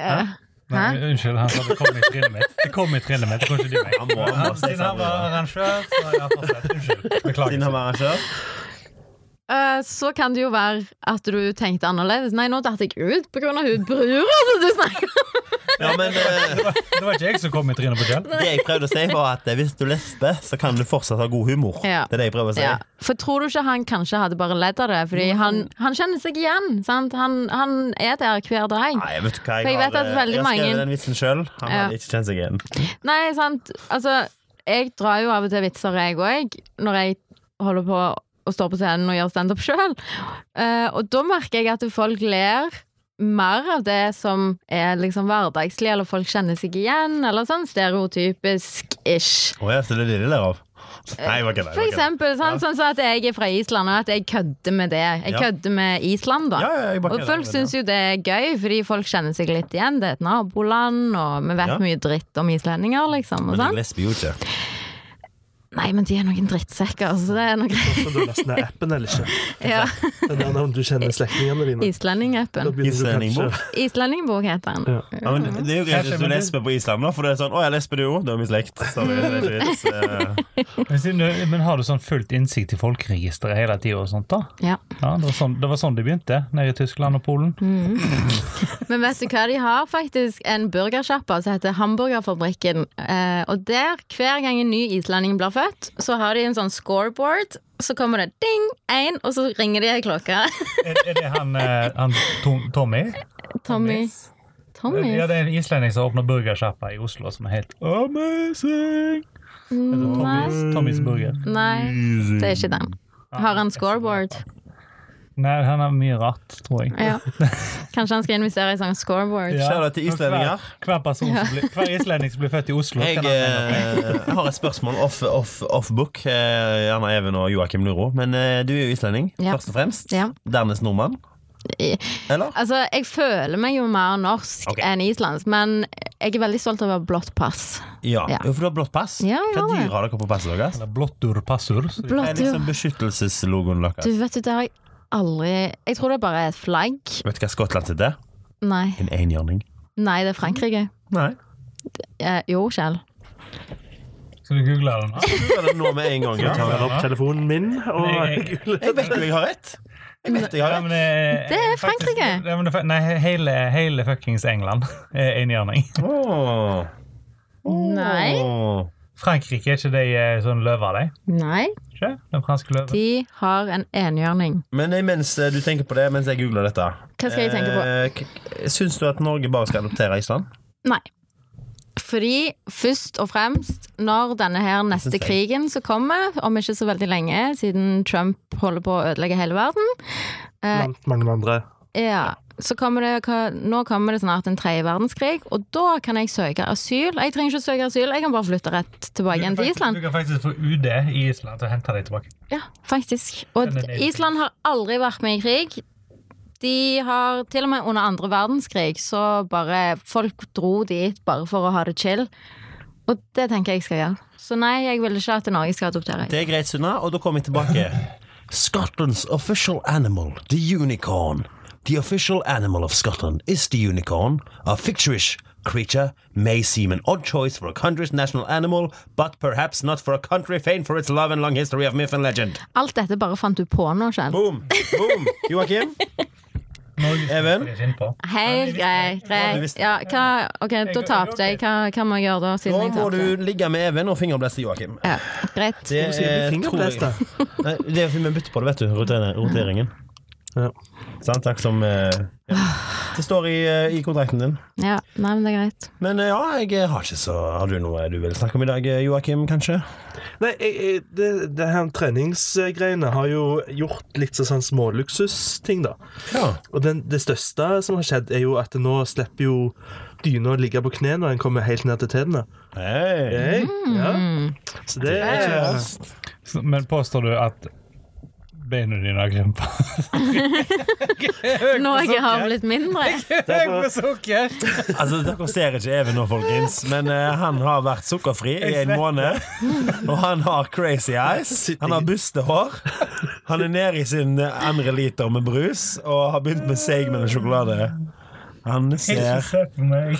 [SPEAKER 2] eh,
[SPEAKER 4] Nei,
[SPEAKER 2] Hæ?
[SPEAKER 4] unnskyld, han sa det kom i trynet mitt. Det kom i trynet mitt. Det kom ikke de meg.
[SPEAKER 3] Han må- han må si
[SPEAKER 4] Siden han var
[SPEAKER 3] sånn,
[SPEAKER 4] arrangør, så ja, fortsett. Unnskyld.
[SPEAKER 3] Siden han
[SPEAKER 4] Beklager.
[SPEAKER 3] var arrangør.
[SPEAKER 2] Eh, så kan det jo være at du tenkte annerledes. Nei, nå datt jeg ut pga. hun brura som altså, du snakker om.
[SPEAKER 3] Ja, men eh,
[SPEAKER 4] Det var ikke jeg som kom i trynet på Kjell.
[SPEAKER 3] det jeg prøvde å si, var at eh, hvis du lesber, så kan du fortsatt ha god humor.
[SPEAKER 2] Ja.
[SPEAKER 3] Det er det jeg prøver å si.
[SPEAKER 2] Ja. For tror du ikke han kanskje hadde bare ledd av det? Fordi
[SPEAKER 3] Mm.
[SPEAKER 2] han, han kjenner seg igjen. Sant? Han, han er der hver dag.
[SPEAKER 3] Nei, vet du hva,
[SPEAKER 2] For jeg
[SPEAKER 3] har,
[SPEAKER 2] vet at
[SPEAKER 3] eh,
[SPEAKER 2] veldig
[SPEAKER 3] jeg har
[SPEAKER 2] mange-
[SPEAKER 3] skrevet den vitsen sjøl. Han
[SPEAKER 2] Ja.
[SPEAKER 3] hadde ikke kjent seg igjen.
[SPEAKER 2] Nei, sant. Altså, jeg drar jo av og til vitser, jeg òg, når jeg holder på å stå på scenen og gjør standup sjøl. og da merker jeg at folk ler mer av det som er liksom hverdagslig, eller folk kjenner seg igjen, eller sånn stereotypisk-ish.
[SPEAKER 3] Å ja, så det er det de ler av? Nei, jeg var ikke det.
[SPEAKER 2] Eh, For eksempel sånn, sånn som at jeg er fra Island, og at jeg kødder med det. Jeg
[SPEAKER 3] Ja.
[SPEAKER 2] kødder med Island, da.
[SPEAKER 3] Ja, ja, jeg bare
[SPEAKER 2] Og
[SPEAKER 3] kødder
[SPEAKER 2] folk
[SPEAKER 3] med det,
[SPEAKER 2] syns jo det er gøy, fordi folk kjenner seg litt igjen. Det er et naboland, og vi vet
[SPEAKER 3] Ja.
[SPEAKER 2] mye dritt om islendinger, liksom.
[SPEAKER 3] Men
[SPEAKER 2] Og
[SPEAKER 3] jeg
[SPEAKER 2] sånn.
[SPEAKER 3] lesber jo ikke.
[SPEAKER 2] Nei, men de er noen drittsekker, så det er noe greit.
[SPEAKER 5] Om du laster ned appen eller ikke.
[SPEAKER 2] Ja.
[SPEAKER 5] Det er der om du kjenner slektningene dine. Da
[SPEAKER 2] Islendingappen.
[SPEAKER 5] begynner du
[SPEAKER 3] Islendingbok.
[SPEAKER 5] kanskje-
[SPEAKER 2] Islendingbok heter den.
[SPEAKER 3] Ja, men det er jo greit hvis du lesber på Island, da, for det er sånn Å, jeg lesber du òg? Du er min slekt. Sorry, det er ikke vits. Eh,
[SPEAKER 4] Men, siden du- men har du sånn fullt innsikt i folkeregisteret hele tida og sånt, da?
[SPEAKER 2] Ja.
[SPEAKER 4] Ja, det var sånn det, var sånn det begynte, nede i Tyskland og Polen.
[SPEAKER 2] Men vet du hva, de har faktisk en burgersjappa som heter Hamburgerfabrikken. Eh, og der, hver gang en ny islending blir født, så har de en sånn scoreboard. Så kommer det ding, én, og så ringer de ei klokke.
[SPEAKER 4] Er, er det han, eh, han Tom, Tommy?
[SPEAKER 2] Tommy. Tommy?
[SPEAKER 4] Ja, det er en islending som åpner burgersjappa i Oslo, som er helt amazing.
[SPEAKER 2] Nei.
[SPEAKER 4] Tommys, Tommys burger.
[SPEAKER 2] Nei, det er ikke den. Har han scoreboard?
[SPEAKER 4] Nei, han har mye rart, tror jeg.
[SPEAKER 2] Ja. Kanskje han skal investere i sånn scoreboard?
[SPEAKER 4] Ja.
[SPEAKER 3] Shout out til islendinger.
[SPEAKER 4] Hver, hver, person som blir, hver islending som blir født i Oslo,
[SPEAKER 3] Jeg,
[SPEAKER 4] kan ha en gang.
[SPEAKER 3] eh, jeg har et spørsmål off, off, off book. Eh, gjerne Even og Joakim Luro. Men eh, du er jo islending,
[SPEAKER 2] Ja.
[SPEAKER 3] først og fremst.
[SPEAKER 2] Ja.
[SPEAKER 3] Dernest nordmann.
[SPEAKER 2] I-
[SPEAKER 3] Eller?
[SPEAKER 2] Altså, jeg føler meg jo mer norsk
[SPEAKER 3] Ok.
[SPEAKER 2] enn islandsk, men jeg er veldig stolt av å ha blått pass.
[SPEAKER 3] Ja.
[SPEAKER 2] Ja.
[SPEAKER 3] Jo, for du har blått pass.
[SPEAKER 2] Ja, jeg
[SPEAKER 3] Hva
[SPEAKER 2] har det.
[SPEAKER 3] dyr har dere på passet deres?
[SPEAKER 4] Eller blottur passur. så-
[SPEAKER 3] Hva er
[SPEAKER 2] Blått, jo.
[SPEAKER 3] liksom beskyttelseslogoen deres?
[SPEAKER 2] Du vet, du, det har jeg aldri Jeg tror det er bare et flagg.
[SPEAKER 3] Vet du hva Skottland sitt er?
[SPEAKER 2] Nei.
[SPEAKER 3] En enhjørning.
[SPEAKER 2] Nei, det er Frankrike.
[SPEAKER 3] Nei.
[SPEAKER 2] Eh, jo, Kjell.
[SPEAKER 4] Skal du google den? Ah, da?
[SPEAKER 3] Du gjør det nå med en gang.
[SPEAKER 5] Jeg
[SPEAKER 3] Ja.
[SPEAKER 5] tar opp telefonen min og
[SPEAKER 3] Jeg vet jo jeg har rett. Jeg vet jeg har
[SPEAKER 4] Ja,
[SPEAKER 3] rett.
[SPEAKER 4] men det,
[SPEAKER 2] Det er
[SPEAKER 4] faktisk-
[SPEAKER 2] Frankrike.
[SPEAKER 4] Ja, men det, er fa- nei, hele, hele fuckings England er enhjørning.
[SPEAKER 3] Åh.
[SPEAKER 2] Nei.
[SPEAKER 3] Åh.
[SPEAKER 4] Frankrike, er ikke de eh, sånn løver, de?
[SPEAKER 2] Nei.
[SPEAKER 4] Ikke? Den franske løven?
[SPEAKER 2] De har en enhjørning.
[SPEAKER 3] Men eh, mens eh, du tenker på det, mens jeg googler dette
[SPEAKER 2] Hva skal jeg tenke på?
[SPEAKER 3] eh, k- Syns du at Norge bare skal adoptere Island?
[SPEAKER 2] Nei. Fordi først og fremst, når denne her neste
[SPEAKER 3] Synes jeg.
[SPEAKER 2] krigen som kommer, om ikke så veldig lenge, siden Trump holder på å ødelegge hele verden eh,
[SPEAKER 5] blant mange andre.
[SPEAKER 2] Ja, så kommer det, hva- Nå kommer det snart en tredje verdenskrig, og da kan jeg søke asyl. Jeg trenger ikke å søke asyl, jeg kan bare flytte rett tilbake igjen til Island.
[SPEAKER 4] Du kan faktisk få UD i Island til å hente deg tilbake.
[SPEAKER 2] Ja, faktisk. Og
[SPEAKER 4] Den er nydelig.
[SPEAKER 2] Island har aldri vært med i krig. De har til og med under andre verdenskrig, så bare folk dro dit bare for å ha det chill. Og det tenker jeg skal gjøre. Så nei, jeg vil ikke at Norge skal adoptere.
[SPEAKER 3] Det er greit, Sunna, og da kommer jeg tilbake. Scotland's official animal, the unicorn. The official animal of Scotland is the unicorn, a fictitious creature may seem an odd choice for a country's national animal, but perhaps not for a country famed for its love and long history of myth and legend.
[SPEAKER 2] Alt dette bare fant du på nå, Kjell.
[SPEAKER 3] Boom! Boom! Joakim? Even?
[SPEAKER 4] Det er ikke innpå.
[SPEAKER 2] Helt greit.
[SPEAKER 3] du
[SPEAKER 2] greit.
[SPEAKER 3] visste.
[SPEAKER 2] Ja, hva, ok, da tapte jeg. Hva, hva må jeg gjøre da,
[SPEAKER 3] Nå
[SPEAKER 2] siden jeg
[SPEAKER 3] må
[SPEAKER 2] tapte?
[SPEAKER 3] du ligge med Even og fingerbleste Joakim.
[SPEAKER 2] Ja, greit.
[SPEAKER 3] Det
[SPEAKER 5] Sier vi fingerbleste?
[SPEAKER 3] Nei, det er fordi vi bytter på det, vet du. rotere- Roteringen.
[SPEAKER 5] Ja.
[SPEAKER 3] Sant? Takk som eh, ja. Det står i, eh, i kontrakten din.
[SPEAKER 2] Ja, nei, men det er greit.
[SPEAKER 3] Men eh, ja, jeg har ikke så Har du noe du vil snakke om i dag, eh, Joakim, kanskje?
[SPEAKER 5] Nei, jeg, jeg, det, det her treningsgreiene har jo gjort litt sånn sånn småluksusting, da.
[SPEAKER 3] Ja.
[SPEAKER 5] Og den, det største som har skjedd, er jo at nå slipper jo dyna å ligge på kne når en kommer helt ned til tærne.
[SPEAKER 3] Hei.
[SPEAKER 5] Hey. Ja. Så det er ikke verst.
[SPEAKER 4] Så- Men påstår du at beina dine har krympa?
[SPEAKER 2] Norge har blitt mindre.
[SPEAKER 4] sukker!
[SPEAKER 3] Altså, Dere ser ikke Even nå, folkens, men eh, han har vært sukkerfri i en måned. Og han har crazy eyes. Han har bustehår. Han er nede i sin eh, andre liter med brus og har begynt med Seigmen og sjokolade. Han ser
[SPEAKER 4] se på meg.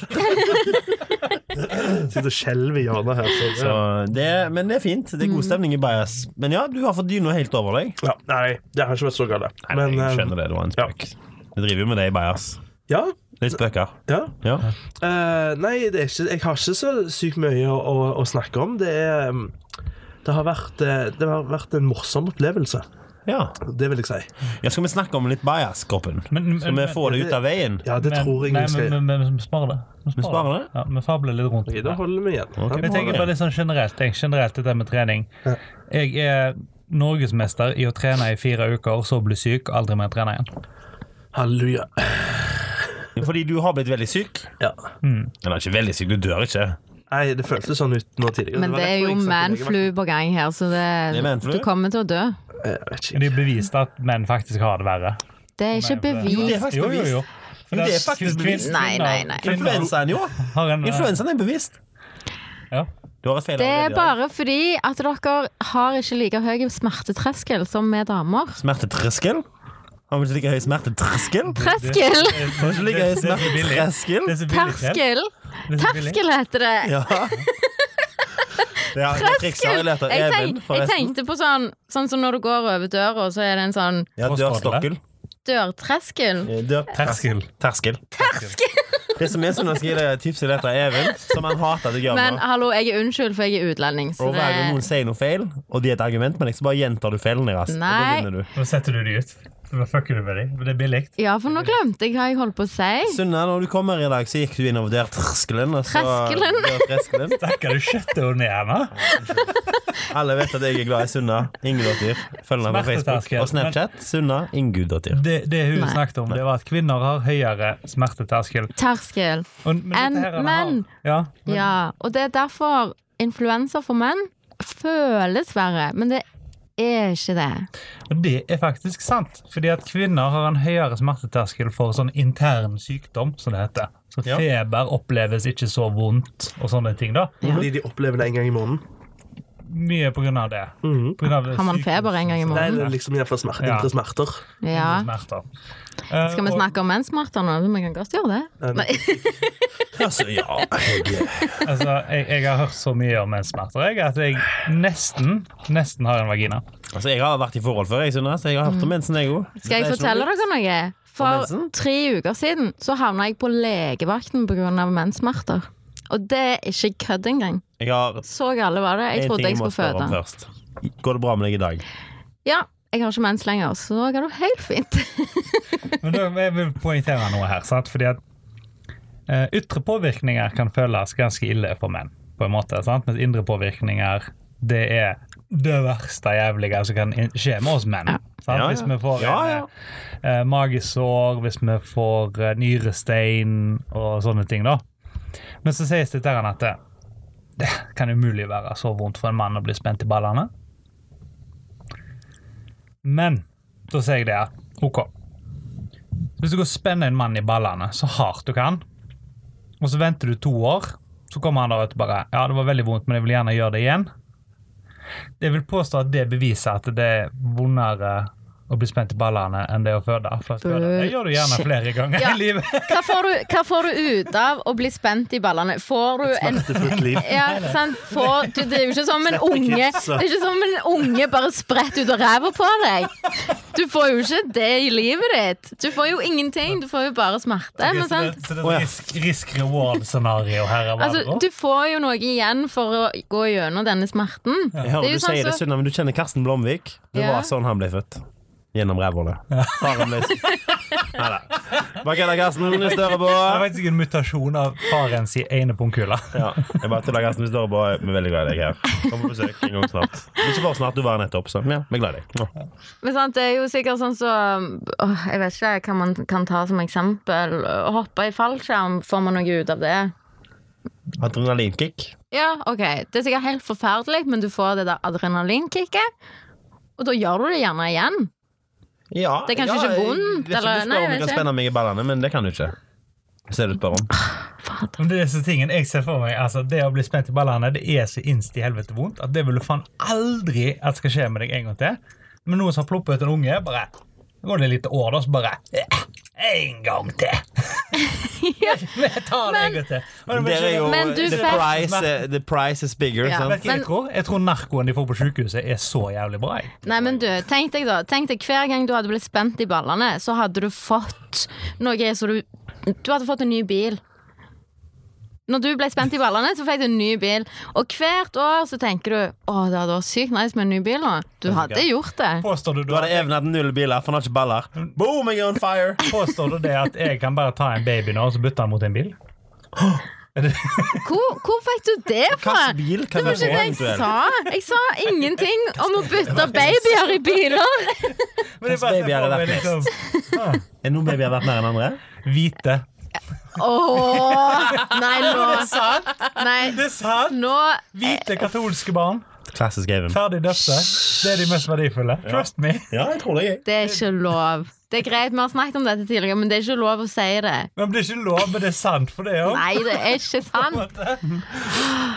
[SPEAKER 5] Sitter og skjelver i hjørnet her. Så,
[SPEAKER 3] Så
[SPEAKER 5] ja.
[SPEAKER 3] det, men det er fint. Det er god stemning i Bajas. Men ja, du har fått dyna helt over deg.
[SPEAKER 5] Ja, nei, det har ikke vært så galt. Men
[SPEAKER 3] jeg
[SPEAKER 5] eh,
[SPEAKER 3] skjønner det. Det var en spøk. Vi driver jo med det i Bajas.
[SPEAKER 5] ja,
[SPEAKER 3] Litt spøker.
[SPEAKER 5] ja.
[SPEAKER 3] Ja.
[SPEAKER 5] Eh, nei, det er ikke, jeg har ikke så sykt mye å, å, å snakke om. Det er um, det har, vært, eh, det har vært en morsom opplevelse.
[SPEAKER 3] ja.
[SPEAKER 5] Det vil jeg si.
[SPEAKER 3] ja skal vi snakke om litt Bajas-kroppen?
[SPEAKER 4] Men-
[SPEAKER 3] Så vi
[SPEAKER 4] men-
[SPEAKER 3] får det ut av veien?
[SPEAKER 5] Ja, det tror jeg
[SPEAKER 4] nei,
[SPEAKER 5] vi skal
[SPEAKER 4] men,
[SPEAKER 5] gjøre.
[SPEAKER 4] men, men vi sparer det.
[SPEAKER 3] Vi sparer det?
[SPEAKER 4] Ja, vi fabler litt rundt.
[SPEAKER 5] Ok, Da holder vi igjen.
[SPEAKER 3] Ok.
[SPEAKER 4] Jeg tenker bare litt sånn generelt, jeg, generelt dette med trening.
[SPEAKER 5] Ja.
[SPEAKER 4] Jeg er norgesmester i å trene i fire uker, så bli syk og aldri mer trene igjen.
[SPEAKER 5] Halleluja.
[SPEAKER 3] Fordi du har blitt veldig syk.
[SPEAKER 5] Ja.
[SPEAKER 3] Eller ikke veldig syk, du dør ikke.
[SPEAKER 5] Nei, det føltes sånn ut nå tidligere.
[SPEAKER 2] Men
[SPEAKER 5] var
[SPEAKER 2] det er
[SPEAKER 5] derfor
[SPEAKER 2] jo
[SPEAKER 5] jeg snakket med
[SPEAKER 2] manflu på gang her, så
[SPEAKER 3] Det er
[SPEAKER 2] det,
[SPEAKER 3] manflu?
[SPEAKER 2] du kommer til å dø.
[SPEAKER 5] legevakten. Eh, Jeg vet ikke.
[SPEAKER 4] Men Det er bevist at menn faktisk har det verre.
[SPEAKER 2] Det er ikke
[SPEAKER 4] Manflu.
[SPEAKER 2] bevis.
[SPEAKER 3] faktisk
[SPEAKER 4] Jo, jo, jo. For
[SPEAKER 3] Jo, det er
[SPEAKER 4] at
[SPEAKER 3] faktisk
[SPEAKER 4] kvin-
[SPEAKER 3] bevist.
[SPEAKER 2] Nei, nei, nei.
[SPEAKER 4] kvinner-
[SPEAKER 3] Influensaen, jo.
[SPEAKER 4] har en,
[SPEAKER 3] Influensaen er bevisst.
[SPEAKER 4] Ja.
[SPEAKER 3] Du har et feil
[SPEAKER 2] Det er
[SPEAKER 3] allerede i dag.
[SPEAKER 2] bare fordi at dere har ikke like høy smertetreskel som vi damer.
[SPEAKER 3] Smertetreskel? Har vi ikke like høy smertetreskel?
[SPEAKER 2] Treskel!
[SPEAKER 3] Har vi ikke like høy
[SPEAKER 4] Det- det- det er billig.
[SPEAKER 3] smertetreskel?
[SPEAKER 4] Det er så billig trent.
[SPEAKER 2] Terskel!
[SPEAKER 4] Det er så billig.
[SPEAKER 2] Terskel heter det.
[SPEAKER 3] Ja. Det er det trikset har jeg lært av
[SPEAKER 2] Jeg,
[SPEAKER 3] Even,
[SPEAKER 2] tenk, jeg
[SPEAKER 3] forresten.
[SPEAKER 2] tenkte på sånn Sånn som når du går over døra, så er det en sånn
[SPEAKER 3] Ja, dørstokkel.
[SPEAKER 2] dørtreskel.
[SPEAKER 3] Eh, Dør
[SPEAKER 4] Terskel.
[SPEAKER 3] Terskel. Det som er så vanskelig, er tipset dette av Even, som han hater at jeg gjør
[SPEAKER 2] Men
[SPEAKER 3] nå.
[SPEAKER 2] hallo, jeg er unnskyld, for jeg er utlending. Så
[SPEAKER 3] Og hver gang noen
[SPEAKER 2] det,
[SPEAKER 3] sier noe feil, og det er et argument, men jeg så bare gjentar du feilen deres. og da
[SPEAKER 2] Nei.
[SPEAKER 3] vinner du.
[SPEAKER 4] Nå setter du de ut. Så bare fucker du med dem. Men det er billig.
[SPEAKER 2] ja, for nå glemte jeg hva jeg holdt på å si.
[SPEAKER 3] Sunna, når du kommer i dag, så gikk du innover der terskelen. og så-
[SPEAKER 2] Terskelen.
[SPEAKER 3] der terskelen.
[SPEAKER 4] Stakkar, du skjøtter henne ned nå.
[SPEAKER 3] Alle vet at jeg er glad i Sunna Ingudottir. Følg henne på Facebook
[SPEAKER 4] Smerteterskel.
[SPEAKER 3] og Snapchat. Sunna Ingudottir.
[SPEAKER 4] Det, det hun
[SPEAKER 2] Nei.
[SPEAKER 4] snakket om, det var at kvinner har høyere smerteterskel.
[SPEAKER 2] Terskel.
[SPEAKER 4] Og- Men, dette
[SPEAKER 2] Enn
[SPEAKER 4] her er det
[SPEAKER 2] menn.
[SPEAKER 4] hard. Ja, men
[SPEAKER 2] Ja, og det er derfor influenser for menn føles verre, men det er ikke det.
[SPEAKER 4] Og det er faktisk sant, fordi at kvinner har en høyere smerteterskel for sånn intern sykdom, som det heter. Så
[SPEAKER 3] Ja.
[SPEAKER 4] feber oppleves ikke så vondt og sånne ting, da.
[SPEAKER 5] Fordi de opplever det en gang i måneden.
[SPEAKER 4] Mye på grunn av det.
[SPEAKER 5] Mhm.
[SPEAKER 4] På grunn av det
[SPEAKER 2] Har man
[SPEAKER 4] sykdomssmerter.
[SPEAKER 2] feber en gang i
[SPEAKER 5] Nei, det
[SPEAKER 2] måneden?
[SPEAKER 5] er liksom iallfall smerter.
[SPEAKER 4] Ja.
[SPEAKER 5] Indre smerter.
[SPEAKER 2] Ja.
[SPEAKER 4] Smerter. Eh,
[SPEAKER 2] Skal vi snakke om menssmerter nå? Vi kan godt gjøre det. Nei.
[SPEAKER 3] Altså, ja, jeg
[SPEAKER 4] Altså, jeg, jeg har hørt så mye om menssmerter jeg, at jeg nesten, nesten har en vagina.
[SPEAKER 3] Altså, jeg har vært i forhold før, jeg, Sunna, så jeg har hørt om mensen, jeg òg.
[SPEAKER 2] Skal jeg fortelle dere noe?
[SPEAKER 3] Om
[SPEAKER 2] For
[SPEAKER 3] mensen?
[SPEAKER 2] tre uker siden så havna jeg på legevakten pga. menssmerter. Og det er ikke kødd engang.
[SPEAKER 3] Jeg har
[SPEAKER 2] Så gale var det.
[SPEAKER 3] en
[SPEAKER 2] Jeg
[SPEAKER 3] ting
[SPEAKER 2] trodde jeg
[SPEAKER 3] jeg må
[SPEAKER 2] skulle
[SPEAKER 3] spørre om
[SPEAKER 2] føde.
[SPEAKER 3] først. Går det bra med deg i dag?
[SPEAKER 2] Ja, jeg har ikke mens lenger, så nå går det helt fint.
[SPEAKER 4] Men da, jeg vil poengtere noe her, sant? fordi at eh, ytre påvirkninger kan føles ganske ille for menn, på en måte, sant? mens indre påvirkninger, det er det verste jævlige som kan in- skje med oss menn. Sant?
[SPEAKER 3] Ja, ja.
[SPEAKER 4] Hvis vi får
[SPEAKER 3] Ja, ja.
[SPEAKER 4] eh, eh, magesår, hvis vi får eh, nyrestein og sånne ting, da. Men så sies det der at det, det kan umulig være så vondt for en mann å bli spent i ballene. Men da sier jeg det at OK. Hvis du går og spenner en mann i ballene så hardt du kan, og så venter du to år, så kommer han der ut og bare Ja, det var veldig vondt, men jeg vil gjerne gjøre det igjen. Jeg vil påstå at det beviser at det er vondere å bli spent i ballene enn det å føde. For å føde. Det gjør du gjerne
[SPEAKER 2] Bullshit.
[SPEAKER 4] flere ganger
[SPEAKER 2] Ja.
[SPEAKER 4] i livet.
[SPEAKER 2] Hva får, du, hva får du ut av å bli spent i ballene? Får du en
[SPEAKER 5] Smertefullt liv.
[SPEAKER 2] ja, sant? Får, du, det er jo ikke som en unge Det er ikke som en unge bare spredt ut av ræva på deg. Du får jo ikke det i livet ditt. Du får jo ingenting. Du får jo bare smerte. Men sant?
[SPEAKER 4] Så det er et risk- risk-reward-scenario her. er hva det
[SPEAKER 2] Altså,
[SPEAKER 4] går.
[SPEAKER 2] du får jo noe igjen for å gå gjennom denne smerten.
[SPEAKER 3] Jeg hører
[SPEAKER 2] Det er
[SPEAKER 3] du
[SPEAKER 2] jo sånn
[SPEAKER 3] sier det,
[SPEAKER 2] så-
[SPEAKER 3] Sunna, men du kjenner Karsten Blomvik. Det
[SPEAKER 2] Ja.
[SPEAKER 3] var sånn han ble født. Gjennom rævhullet. Faren ble Nei da. Hva kødder Karsten? Du større
[SPEAKER 4] Det
[SPEAKER 3] på.
[SPEAKER 4] er faktisk en mutasjon av faren sin ene pungkule.
[SPEAKER 3] Ja, jeg bare tuller, Karsten. Du står på. Vi er veldig glad i deg her. Kom på besøk en gang snart. Ikke for snart, du var her nettopp, så ja, vi er glad i deg. Ja.
[SPEAKER 2] Men sant, det er jo sikkert sånn så åh, Jeg vet ikke hva man kan ta som eksempel. Å hoppe i fallskjerm, får man noe ut av det?
[SPEAKER 3] Adrenalinkick.
[SPEAKER 2] Ja, ok, det er sikkert helt forferdelig, men du får det der adrenalinkicket. Og da gjør du det gjerne igjen.
[SPEAKER 3] Ja,
[SPEAKER 2] Det er kanskje ikke vondt,
[SPEAKER 3] Jeg vet
[SPEAKER 2] eller-
[SPEAKER 3] ikke om du
[SPEAKER 2] nei,
[SPEAKER 3] spør om
[SPEAKER 2] jeg
[SPEAKER 3] du kan
[SPEAKER 2] vet
[SPEAKER 3] spenne meg i ballene, men det kan du ikke. Så er det du spør om.
[SPEAKER 2] Fader.
[SPEAKER 4] Men det er disse tingene jeg ser for meg altså, Det å bli spent i ballene Det er så innst i helvete vondt at det vil du faen aldri at skal skje med deg en gang til. Men noen som har plukket ut en unge, bare så går det et lite år, da, så bare eh, En gang til! Vi tar det en gang til. Men,
[SPEAKER 3] Der er jo
[SPEAKER 2] Men du
[SPEAKER 3] the,
[SPEAKER 2] får-
[SPEAKER 3] price, eh, the price is bigger.
[SPEAKER 2] Ja.
[SPEAKER 3] Sant?
[SPEAKER 4] Vet du hva jeg tror? Jeg tror narkoen de får på sykehuset, er så jævlig bra. jeg.
[SPEAKER 2] Nei, men du, tenk deg da Tenk deg hver gang du hadde blitt spent i ballene Så hadde du fått noe så du, du hadde fått en ny bil Når du ble spent i ballene Så fikk du en ny bil Og hvert år så tenker du Åh, det hadde vært sykt nice med en ny bil nå Du hadde gjort det
[SPEAKER 4] Påstår du,
[SPEAKER 3] Du
[SPEAKER 4] da,
[SPEAKER 3] hadde evnet null biler, for han har ikke baller. Boom, jeg er on fire!
[SPEAKER 4] påstår du det at jeg kan bare ta en baby nå og så bytte han mot en bil? Er det
[SPEAKER 2] Hvor, hvor fikk du det fra?
[SPEAKER 3] Hvilken bil
[SPEAKER 2] Det
[SPEAKER 3] kan du
[SPEAKER 2] var
[SPEAKER 3] få
[SPEAKER 2] ikke det jeg
[SPEAKER 3] eventuelt?
[SPEAKER 2] sa Jeg sa ingenting om å bytte babyer i biler
[SPEAKER 4] Men
[SPEAKER 3] Hvilken baby hadde vært
[SPEAKER 4] liksom,
[SPEAKER 3] Er noen babyer verdt mer enn andre?
[SPEAKER 4] Hvite.
[SPEAKER 2] Åh, nei nå Nei,
[SPEAKER 4] Det er sant!
[SPEAKER 2] nå
[SPEAKER 4] Hvite katolske barn.
[SPEAKER 3] Klassisk Even.
[SPEAKER 4] Ferdig døpte. Det er de mest verdifulle. Trust me.
[SPEAKER 3] Ja, jeg tror det, jeg.
[SPEAKER 2] Det er ikke lov. Det er greit, vi har snakket om dette tidligere, men det er ikke lov å si det.
[SPEAKER 4] Men det er ikke lov, men det er sant for det òg.
[SPEAKER 2] Nei, det er ikke sant.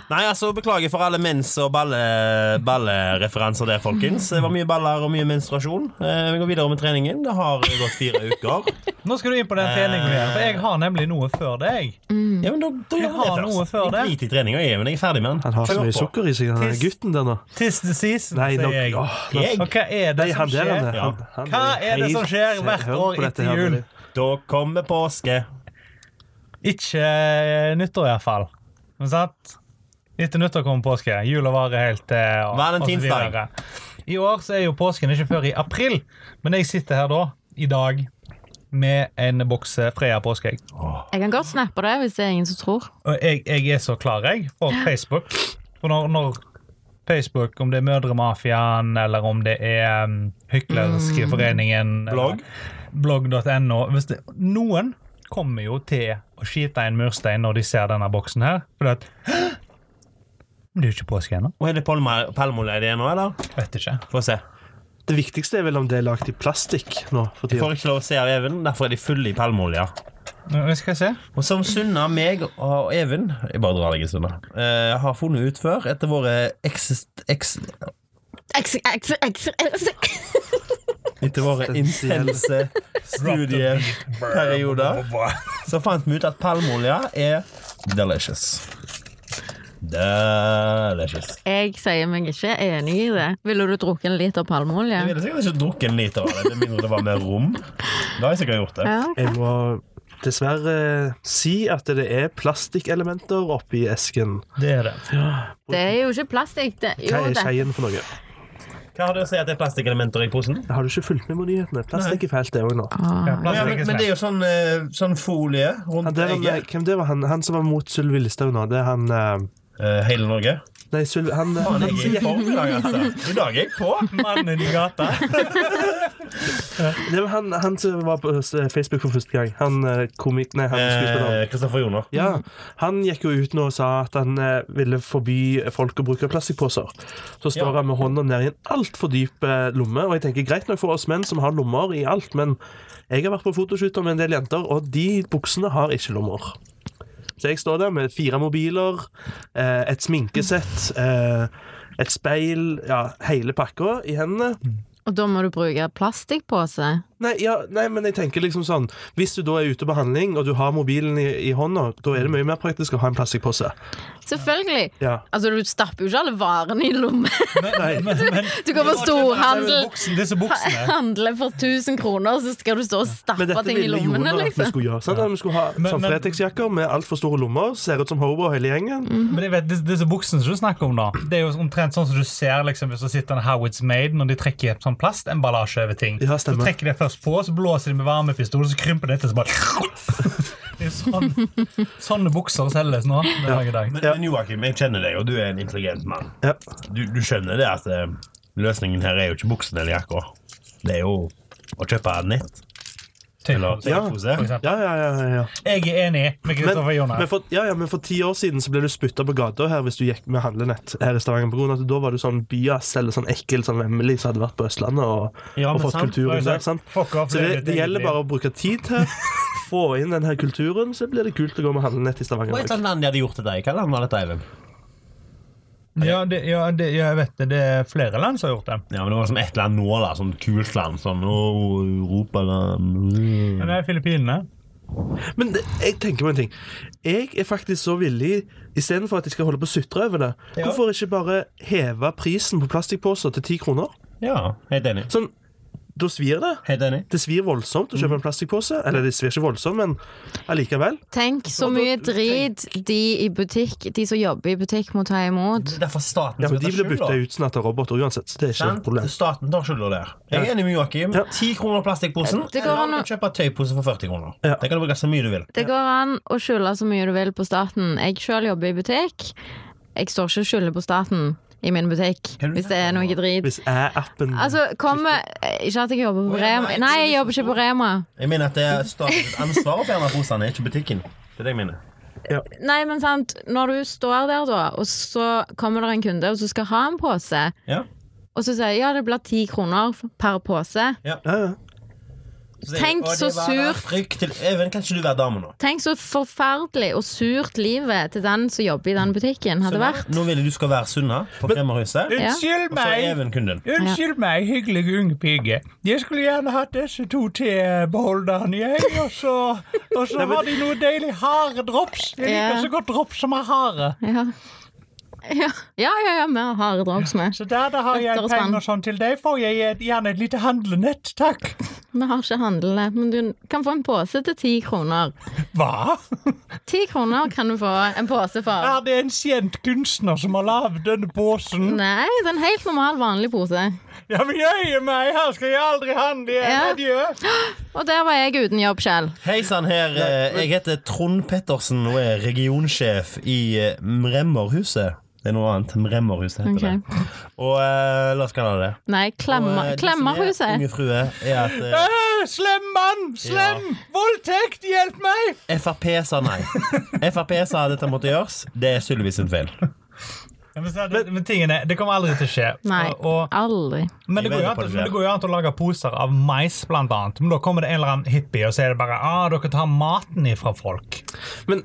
[SPEAKER 3] Nei, altså, Beklager for alle mens- og balle- ballereferanser der, folkens. Det var mye baller og mye menstruasjon. Eh, vi går videre med treningen. Det har gått fire uker.
[SPEAKER 4] Nå skal du inn på den treningen igjen, for jeg har nemlig noe før deg.
[SPEAKER 3] Ja, men da, da gjør vi
[SPEAKER 4] Mm. har
[SPEAKER 3] det
[SPEAKER 4] noe
[SPEAKER 3] først.
[SPEAKER 4] før det.
[SPEAKER 3] Jeg driter i treninga, jeg, men jeg er ferdig med den.
[SPEAKER 5] Han har så
[SPEAKER 3] Kjør
[SPEAKER 5] mye
[SPEAKER 3] på.
[SPEAKER 5] sukker i seg, han der
[SPEAKER 4] Tiss.
[SPEAKER 5] gutten der nå.
[SPEAKER 4] Tis the season,
[SPEAKER 5] Nei, nå,
[SPEAKER 4] sier jeg.
[SPEAKER 5] åh, nå-
[SPEAKER 3] Jeg?
[SPEAKER 4] Og hva er det
[SPEAKER 5] Nei,
[SPEAKER 4] som
[SPEAKER 5] han der, han
[SPEAKER 4] skjer?
[SPEAKER 5] der.
[SPEAKER 3] Ja.
[SPEAKER 5] han- han
[SPEAKER 4] Hva er det som skjer
[SPEAKER 5] helt-
[SPEAKER 4] hvert
[SPEAKER 5] hør
[SPEAKER 4] år
[SPEAKER 5] på dette
[SPEAKER 4] etter
[SPEAKER 5] her,
[SPEAKER 4] jul?
[SPEAKER 5] dere.
[SPEAKER 3] Da kommer påske.
[SPEAKER 4] Ikke eh, nyttår, iallfall. Men sant? Etter nyttår kommer påske. Jula varer helt til og-
[SPEAKER 3] Valentinsdag.
[SPEAKER 4] og så videre. I år så er jo påsken ikke før i april, men jeg sitter her da, i dag, med en boks eh, Freia påskeegg.
[SPEAKER 2] Jeg kan godt snappe det hvis det er ingen som tror.
[SPEAKER 4] Og jeg, jeg er så klar, jeg, for Facebook. For når, når Facebook, om det er Mødremafiaen, eller om det er um, Hyklerske foreningen
[SPEAKER 3] Mm. Blogg.
[SPEAKER 4] Blogg.no. Hvis det, noen kommer jo til å skite en murstein når de ser denne boksen her. Fordi at «Hæ? Men det er jo ikke påske ennå.
[SPEAKER 3] Og er det palma- palmeolje nå, eller?
[SPEAKER 4] Vet ikke.
[SPEAKER 3] Få se.
[SPEAKER 5] Det viktigste er vel om det er lagd i plastikk nå for
[SPEAKER 3] Jeg
[SPEAKER 5] tida.
[SPEAKER 3] får ikke lov å se av Even, derfor er de fulle i palmeolje.
[SPEAKER 4] Men Vi skal se.
[SPEAKER 3] Og som Sunna, meg og Even Jeg bare drar deg i Sunna. eh, har funnet ut før, etter våre eksist... Eks,
[SPEAKER 2] X, X, X, X.
[SPEAKER 3] etter våre intense studieperioder, så fant vi ut at palmeolje er delicious. Delicious.
[SPEAKER 2] Jeg sier meg ikke enig i det. Ville du drukket en liter palmeolje?
[SPEAKER 3] Jeg ville sikkert ikke drukket en liter av det, med mindre det var med rom. Da har jeg sikkert gjort det.
[SPEAKER 2] Ja.
[SPEAKER 5] Jeg må dessverre si at det er plastikkelementer oppi esken.
[SPEAKER 4] Det er det.
[SPEAKER 2] Det er jo ikke plastikk. Det. Jo,
[SPEAKER 5] Hva er
[SPEAKER 2] det.
[SPEAKER 5] skeien for noe?
[SPEAKER 3] Hva har du å si at det er plastikkelementer i posen?
[SPEAKER 5] Har du ikke fulgt med på nyhetene? Plastikk er fælt, det òg nå.
[SPEAKER 4] Ja,
[SPEAKER 3] Ah. Ja, men, men det er jo sånn, eh, sånn folie rundt
[SPEAKER 5] Han, det sånn var, nei,
[SPEAKER 3] egget.
[SPEAKER 5] hvem det var han, han som var mot Sylvi Listhaug nå? Det er han eh,
[SPEAKER 3] Eh, hele Norge.
[SPEAKER 5] Nei, Sylvi han, eh,
[SPEAKER 3] Faen,
[SPEAKER 5] han,
[SPEAKER 3] jeg er i form i dag, altså. I dag er jeg på.
[SPEAKER 4] Mannen i gata.
[SPEAKER 5] det var han, han som var på eh, Facebook for første gang. Han eh, komik... Nei, han skuespilleren.
[SPEAKER 3] Eh, Kristoffer Joner.
[SPEAKER 5] Ja, han gikk jo ut nå og sa at han eh, ville forby folk å bruke plastikkposer. Så står han med hånda ned i en altfor dyp eh, lomme, og jeg tenker greit nok for oss menn som har lommer i alt, men jeg har vært på fotoshooter med en del jenter, og de buksene har ikke lommer. Så jeg står der med fire mobiler, eh, et sminkesett, eh, et speil, ja, hele pakka i hendene.
[SPEAKER 2] Og da må du bruke plastikkpose.
[SPEAKER 5] Nei, ja, nei, men jeg tenker liksom sånn Hvis du da er ute på handling, og du har mobilen i, i hånda, da er det mye mer praktisk å ha en plastikkpose.
[SPEAKER 2] Selvfølgelig.
[SPEAKER 5] Ja.
[SPEAKER 2] Altså, du stapper jo ikke alle varene i lommen.
[SPEAKER 4] Men, men, men
[SPEAKER 2] Du går på storhandel,
[SPEAKER 4] buksen, disse buksene
[SPEAKER 2] handler for 1000 kroner, så skal du stå og stappe
[SPEAKER 5] Men dette
[SPEAKER 2] ting i
[SPEAKER 5] ville Jonas
[SPEAKER 2] lommene,
[SPEAKER 5] at vi
[SPEAKER 2] liksom.
[SPEAKER 5] skulle gjøre. Sant? At vi skulle ha
[SPEAKER 4] Men-
[SPEAKER 5] sånn
[SPEAKER 4] men-
[SPEAKER 5] Fretex-jakker med altfor store lommer, ser ut som hobo hele gjengen.
[SPEAKER 2] Mm.
[SPEAKER 4] Men jeg vet, disse, disse buksene som du snakker om da Det er jo omtrent sånn som du ser liksom, Hvis det sitter en How It's Made Når de trekker i et sånn plastemballasje over ting
[SPEAKER 5] Ja,
[SPEAKER 4] Så
[SPEAKER 5] stemmer.
[SPEAKER 4] trekker de først på Så blåser de med varmepistol Så krymper det etter Så bare Det er sånn, Sånne bukser selges nå Den dag i dag
[SPEAKER 3] Men, men Joakim, jeg kjenner deg, og du er en intelligent mann.
[SPEAKER 5] Ja.
[SPEAKER 3] Du, du skjønner det at eh, løsningen her er jo ikke buksen eller jakka. Det er jo å kjøpe nett eller
[SPEAKER 4] Typ.
[SPEAKER 3] telepose.
[SPEAKER 4] For eksempel.
[SPEAKER 5] Ja, ja, ja, ja, ja.
[SPEAKER 4] Jeg er enig med
[SPEAKER 5] Men,
[SPEAKER 4] Kristoffer
[SPEAKER 5] men,
[SPEAKER 4] Jonas
[SPEAKER 5] for, ja, ja, men for ti år siden så ble du spytta på gata her hvis du gikk med handlenett her i Stavanger. På grunn av at da var du sånn byass eller sånn ekkel som Emily som hadde vært på Østlandet og,
[SPEAKER 3] Ja,
[SPEAKER 5] og
[SPEAKER 3] men
[SPEAKER 5] fått
[SPEAKER 3] sant,
[SPEAKER 5] kulturen
[SPEAKER 4] det er
[SPEAKER 5] der.
[SPEAKER 4] sant.
[SPEAKER 5] sant?
[SPEAKER 4] Fuck off,
[SPEAKER 5] Så
[SPEAKER 4] det er
[SPEAKER 5] det,
[SPEAKER 4] ditt
[SPEAKER 5] det
[SPEAKER 4] eget
[SPEAKER 5] gjelder
[SPEAKER 4] liv.
[SPEAKER 5] bare å bruke tid til. Få inn denne kulturen, så blir det kult å gå med handlenett i Stavanger.
[SPEAKER 3] Hva er et
[SPEAKER 5] også.
[SPEAKER 3] land de hadde gjort til deg? Hva land var dette, Even?
[SPEAKER 4] ja, det, ja, det, ja, jeg vet det Det er flere land som har gjort det
[SPEAKER 3] Ja, men Det var som et land nå, da. Sånn kult land. Sånn å, Mm. Europaland
[SPEAKER 4] Men det er Filippinene
[SPEAKER 5] Men det, jeg tenker på en ting. Jeg er faktisk så villig, istedenfor at jeg skal holde på å sutre over det, hvorfor ikke bare heve prisen på plastikkposer til ti kroner?
[SPEAKER 3] Ja, helt enig.
[SPEAKER 5] Sånn, da svir det.
[SPEAKER 3] Helt enig.
[SPEAKER 5] Det svir voldsomt å kjøpe en plastikkpose. Eller det svir ikke voldsomt, men allikevel.
[SPEAKER 2] Tenk så mye drit de i butikk, de som jobber i butikk, må ta imot.
[SPEAKER 3] Det er derfor staten
[SPEAKER 5] Ja,
[SPEAKER 3] som
[SPEAKER 5] men de
[SPEAKER 3] tar
[SPEAKER 5] blir
[SPEAKER 3] skylda.
[SPEAKER 5] bytta ut sånn at det er roboter uansett, så det er ikke
[SPEAKER 3] Sant?
[SPEAKER 5] et problem.
[SPEAKER 3] Staten tar skylda der. Jeg er enig med Joakim.
[SPEAKER 5] Ja.
[SPEAKER 3] 10 kroner plastikkposen.
[SPEAKER 2] Det går
[SPEAKER 3] Eller
[SPEAKER 2] an å-
[SPEAKER 3] du kjøper tøypose for 40 kroner.
[SPEAKER 5] Ja.
[SPEAKER 3] Det kan du bruke så mye du vil.
[SPEAKER 2] Det går an å skylde så mye du vil på staten. Jeg sjøl jobber i butikk. Jeg står ikke og skylder på staten i min butikk
[SPEAKER 3] Hva er det
[SPEAKER 2] hvis det er noe drit.
[SPEAKER 5] Hvis æ-appen
[SPEAKER 2] Altså, kommer Ikke at jeg jobber på
[SPEAKER 3] Å, ja, nei,
[SPEAKER 2] Rema. Nei, jeg jobber ikke på Rema.
[SPEAKER 3] Jeg mener at det er statens ansvar å fjerne posene, ikke butikken. Det er det jeg mener.
[SPEAKER 2] Nei, men sant, når du står der, da, og så kommer det en kunde og så skal ha en pose,
[SPEAKER 3] Ja.
[SPEAKER 2] og så sier jeg ja, det blir ti kroner per pose.
[SPEAKER 5] Ja, ja.
[SPEAKER 3] Så det-
[SPEAKER 2] Tenk
[SPEAKER 3] og det
[SPEAKER 2] så
[SPEAKER 3] var da
[SPEAKER 2] surt.
[SPEAKER 3] Frykt til Even, kan ikke du være dame nå?
[SPEAKER 2] Tenk så forferdelig og surt livet til den som jobber i den butikken, hadde
[SPEAKER 3] Sunna,
[SPEAKER 2] vært.
[SPEAKER 3] Nå vil jeg du skal være Sunna på Kremmerhuset. Og
[SPEAKER 6] Unnskyld
[SPEAKER 3] så er
[SPEAKER 6] meg!
[SPEAKER 3] Even kunden.
[SPEAKER 6] Unnskyld meg, hyggelig unge pige. Jeg skulle gjerne hatt disse to tebeholderne, jeg. Og så, og så har de noe deilig haredrops. Jeg
[SPEAKER 2] Ja.
[SPEAKER 6] liker så godt drops som har hare.
[SPEAKER 2] Ja. Ja, ja, ja, ja, vi har drops med.
[SPEAKER 6] Så der, da har jeg
[SPEAKER 2] Dette er
[SPEAKER 6] penger sånn til deg, får jeg gjerne et lite handlenett, takk.
[SPEAKER 2] Vi har ikke handlene, men du kan få en pose til ti kroner.
[SPEAKER 6] Hva?
[SPEAKER 2] Ti kroner kan du få en pose for.
[SPEAKER 6] Er det en kjent kunstner som har lagd denne posen?
[SPEAKER 2] Nei, det er en helt normal, vanlig pose.
[SPEAKER 6] Ja, men jøye meg, her skal jeg aldri handle
[SPEAKER 2] Ja.
[SPEAKER 6] igjen. Adjø.
[SPEAKER 2] Og der var jeg uten jobb selv.
[SPEAKER 3] Hei sann her, eh, jeg heter Trond Pettersen og er regionsjef i eh, Mremmerhuset. Det er noe annet. Mremmerhuset heter
[SPEAKER 2] Ok.
[SPEAKER 3] det. Og eh, la oss kalle det det.
[SPEAKER 2] Nei,
[SPEAKER 3] Og,
[SPEAKER 2] klemmer,
[SPEAKER 3] eh, det som er
[SPEAKER 2] Klemmerhuset.
[SPEAKER 3] Unge frue er at eh,
[SPEAKER 6] Øh, Slem mann! Slem! Voldtekt! Hjelp meg!
[SPEAKER 3] Frp sa nei. Frp sa dette måtte gjøres. Det er Sylvi sin feil.
[SPEAKER 4] Ja, Men, så er det- men tingen er, det kommer aldri til å skje.
[SPEAKER 2] Nei,
[SPEAKER 4] Og, og
[SPEAKER 2] aldri.
[SPEAKER 4] Men
[SPEAKER 3] Jeg
[SPEAKER 4] det, går
[SPEAKER 3] vet
[SPEAKER 4] jo
[SPEAKER 3] det
[SPEAKER 4] an,
[SPEAKER 3] på det
[SPEAKER 4] men det går jo an til å lage poser av mais, blant annet. Men da kommer det en eller annen hippie, og så er det bare ah, dere tar maten ifra folk.
[SPEAKER 5] Men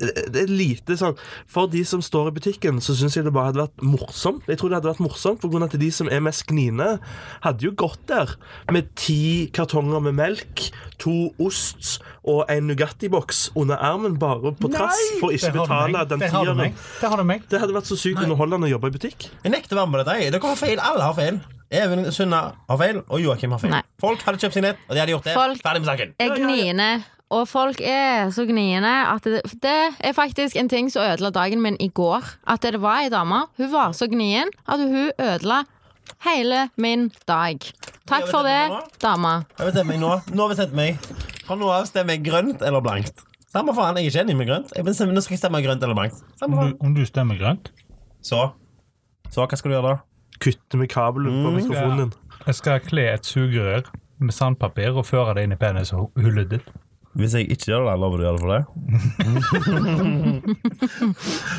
[SPEAKER 5] eh, det er lite sånn For de som står i butikken, så syns jeg det bare hadde vært morsomt. Jeg tror det hadde vært morsomt, for grunn av at de som er mest gniene, hadde jo gått der med ti kartonger med melk, to ost og en Nugatti-boks under armen, bare på trass, for ikke
[SPEAKER 4] Der har du meg.
[SPEAKER 5] betale den
[SPEAKER 4] Der har du
[SPEAKER 5] tieren.
[SPEAKER 4] meg. Der har du meg.
[SPEAKER 5] Det hadde vært så sykt underholdende å jobbe i butikk.
[SPEAKER 3] Jeg nekter å være med på dette. jeg. Dere har feil. Alle har feil. Even Sunna har feil, og Joakim har feil.
[SPEAKER 2] Nei.
[SPEAKER 3] Folk hadde kjøpt seg nett, og de hadde gjort det.
[SPEAKER 2] Folk-
[SPEAKER 3] Ferdig med saken.
[SPEAKER 2] er gniende, og folk er så gniende at det, det er faktisk en ting som ødela dagen min i går. At det var ei dame. Hun var så gnien at hun ødela hele min dag. Takk for det, dame.
[SPEAKER 3] Jeg bestemmer meg nå. Nå bestemmer jeg meg. Fra nå av stemmer jeg grønt eller blankt. Samme faen, jeg er ikke enig med grønt. Jeg bestemmer, nå skal jeg stemme grønt eller blankt. Samme faen.
[SPEAKER 2] Mhm.
[SPEAKER 4] Om du stemmer grønt?
[SPEAKER 3] Så. Så, hva skal du gjøre da?
[SPEAKER 5] Kutte med kabelen på mikrofonen din.
[SPEAKER 4] Jeg skal kle et sugerør med sandpapir og føre det inn i penishullet ditt.
[SPEAKER 3] Hvis jeg ikke gjør det, lover du å gjøre det for det?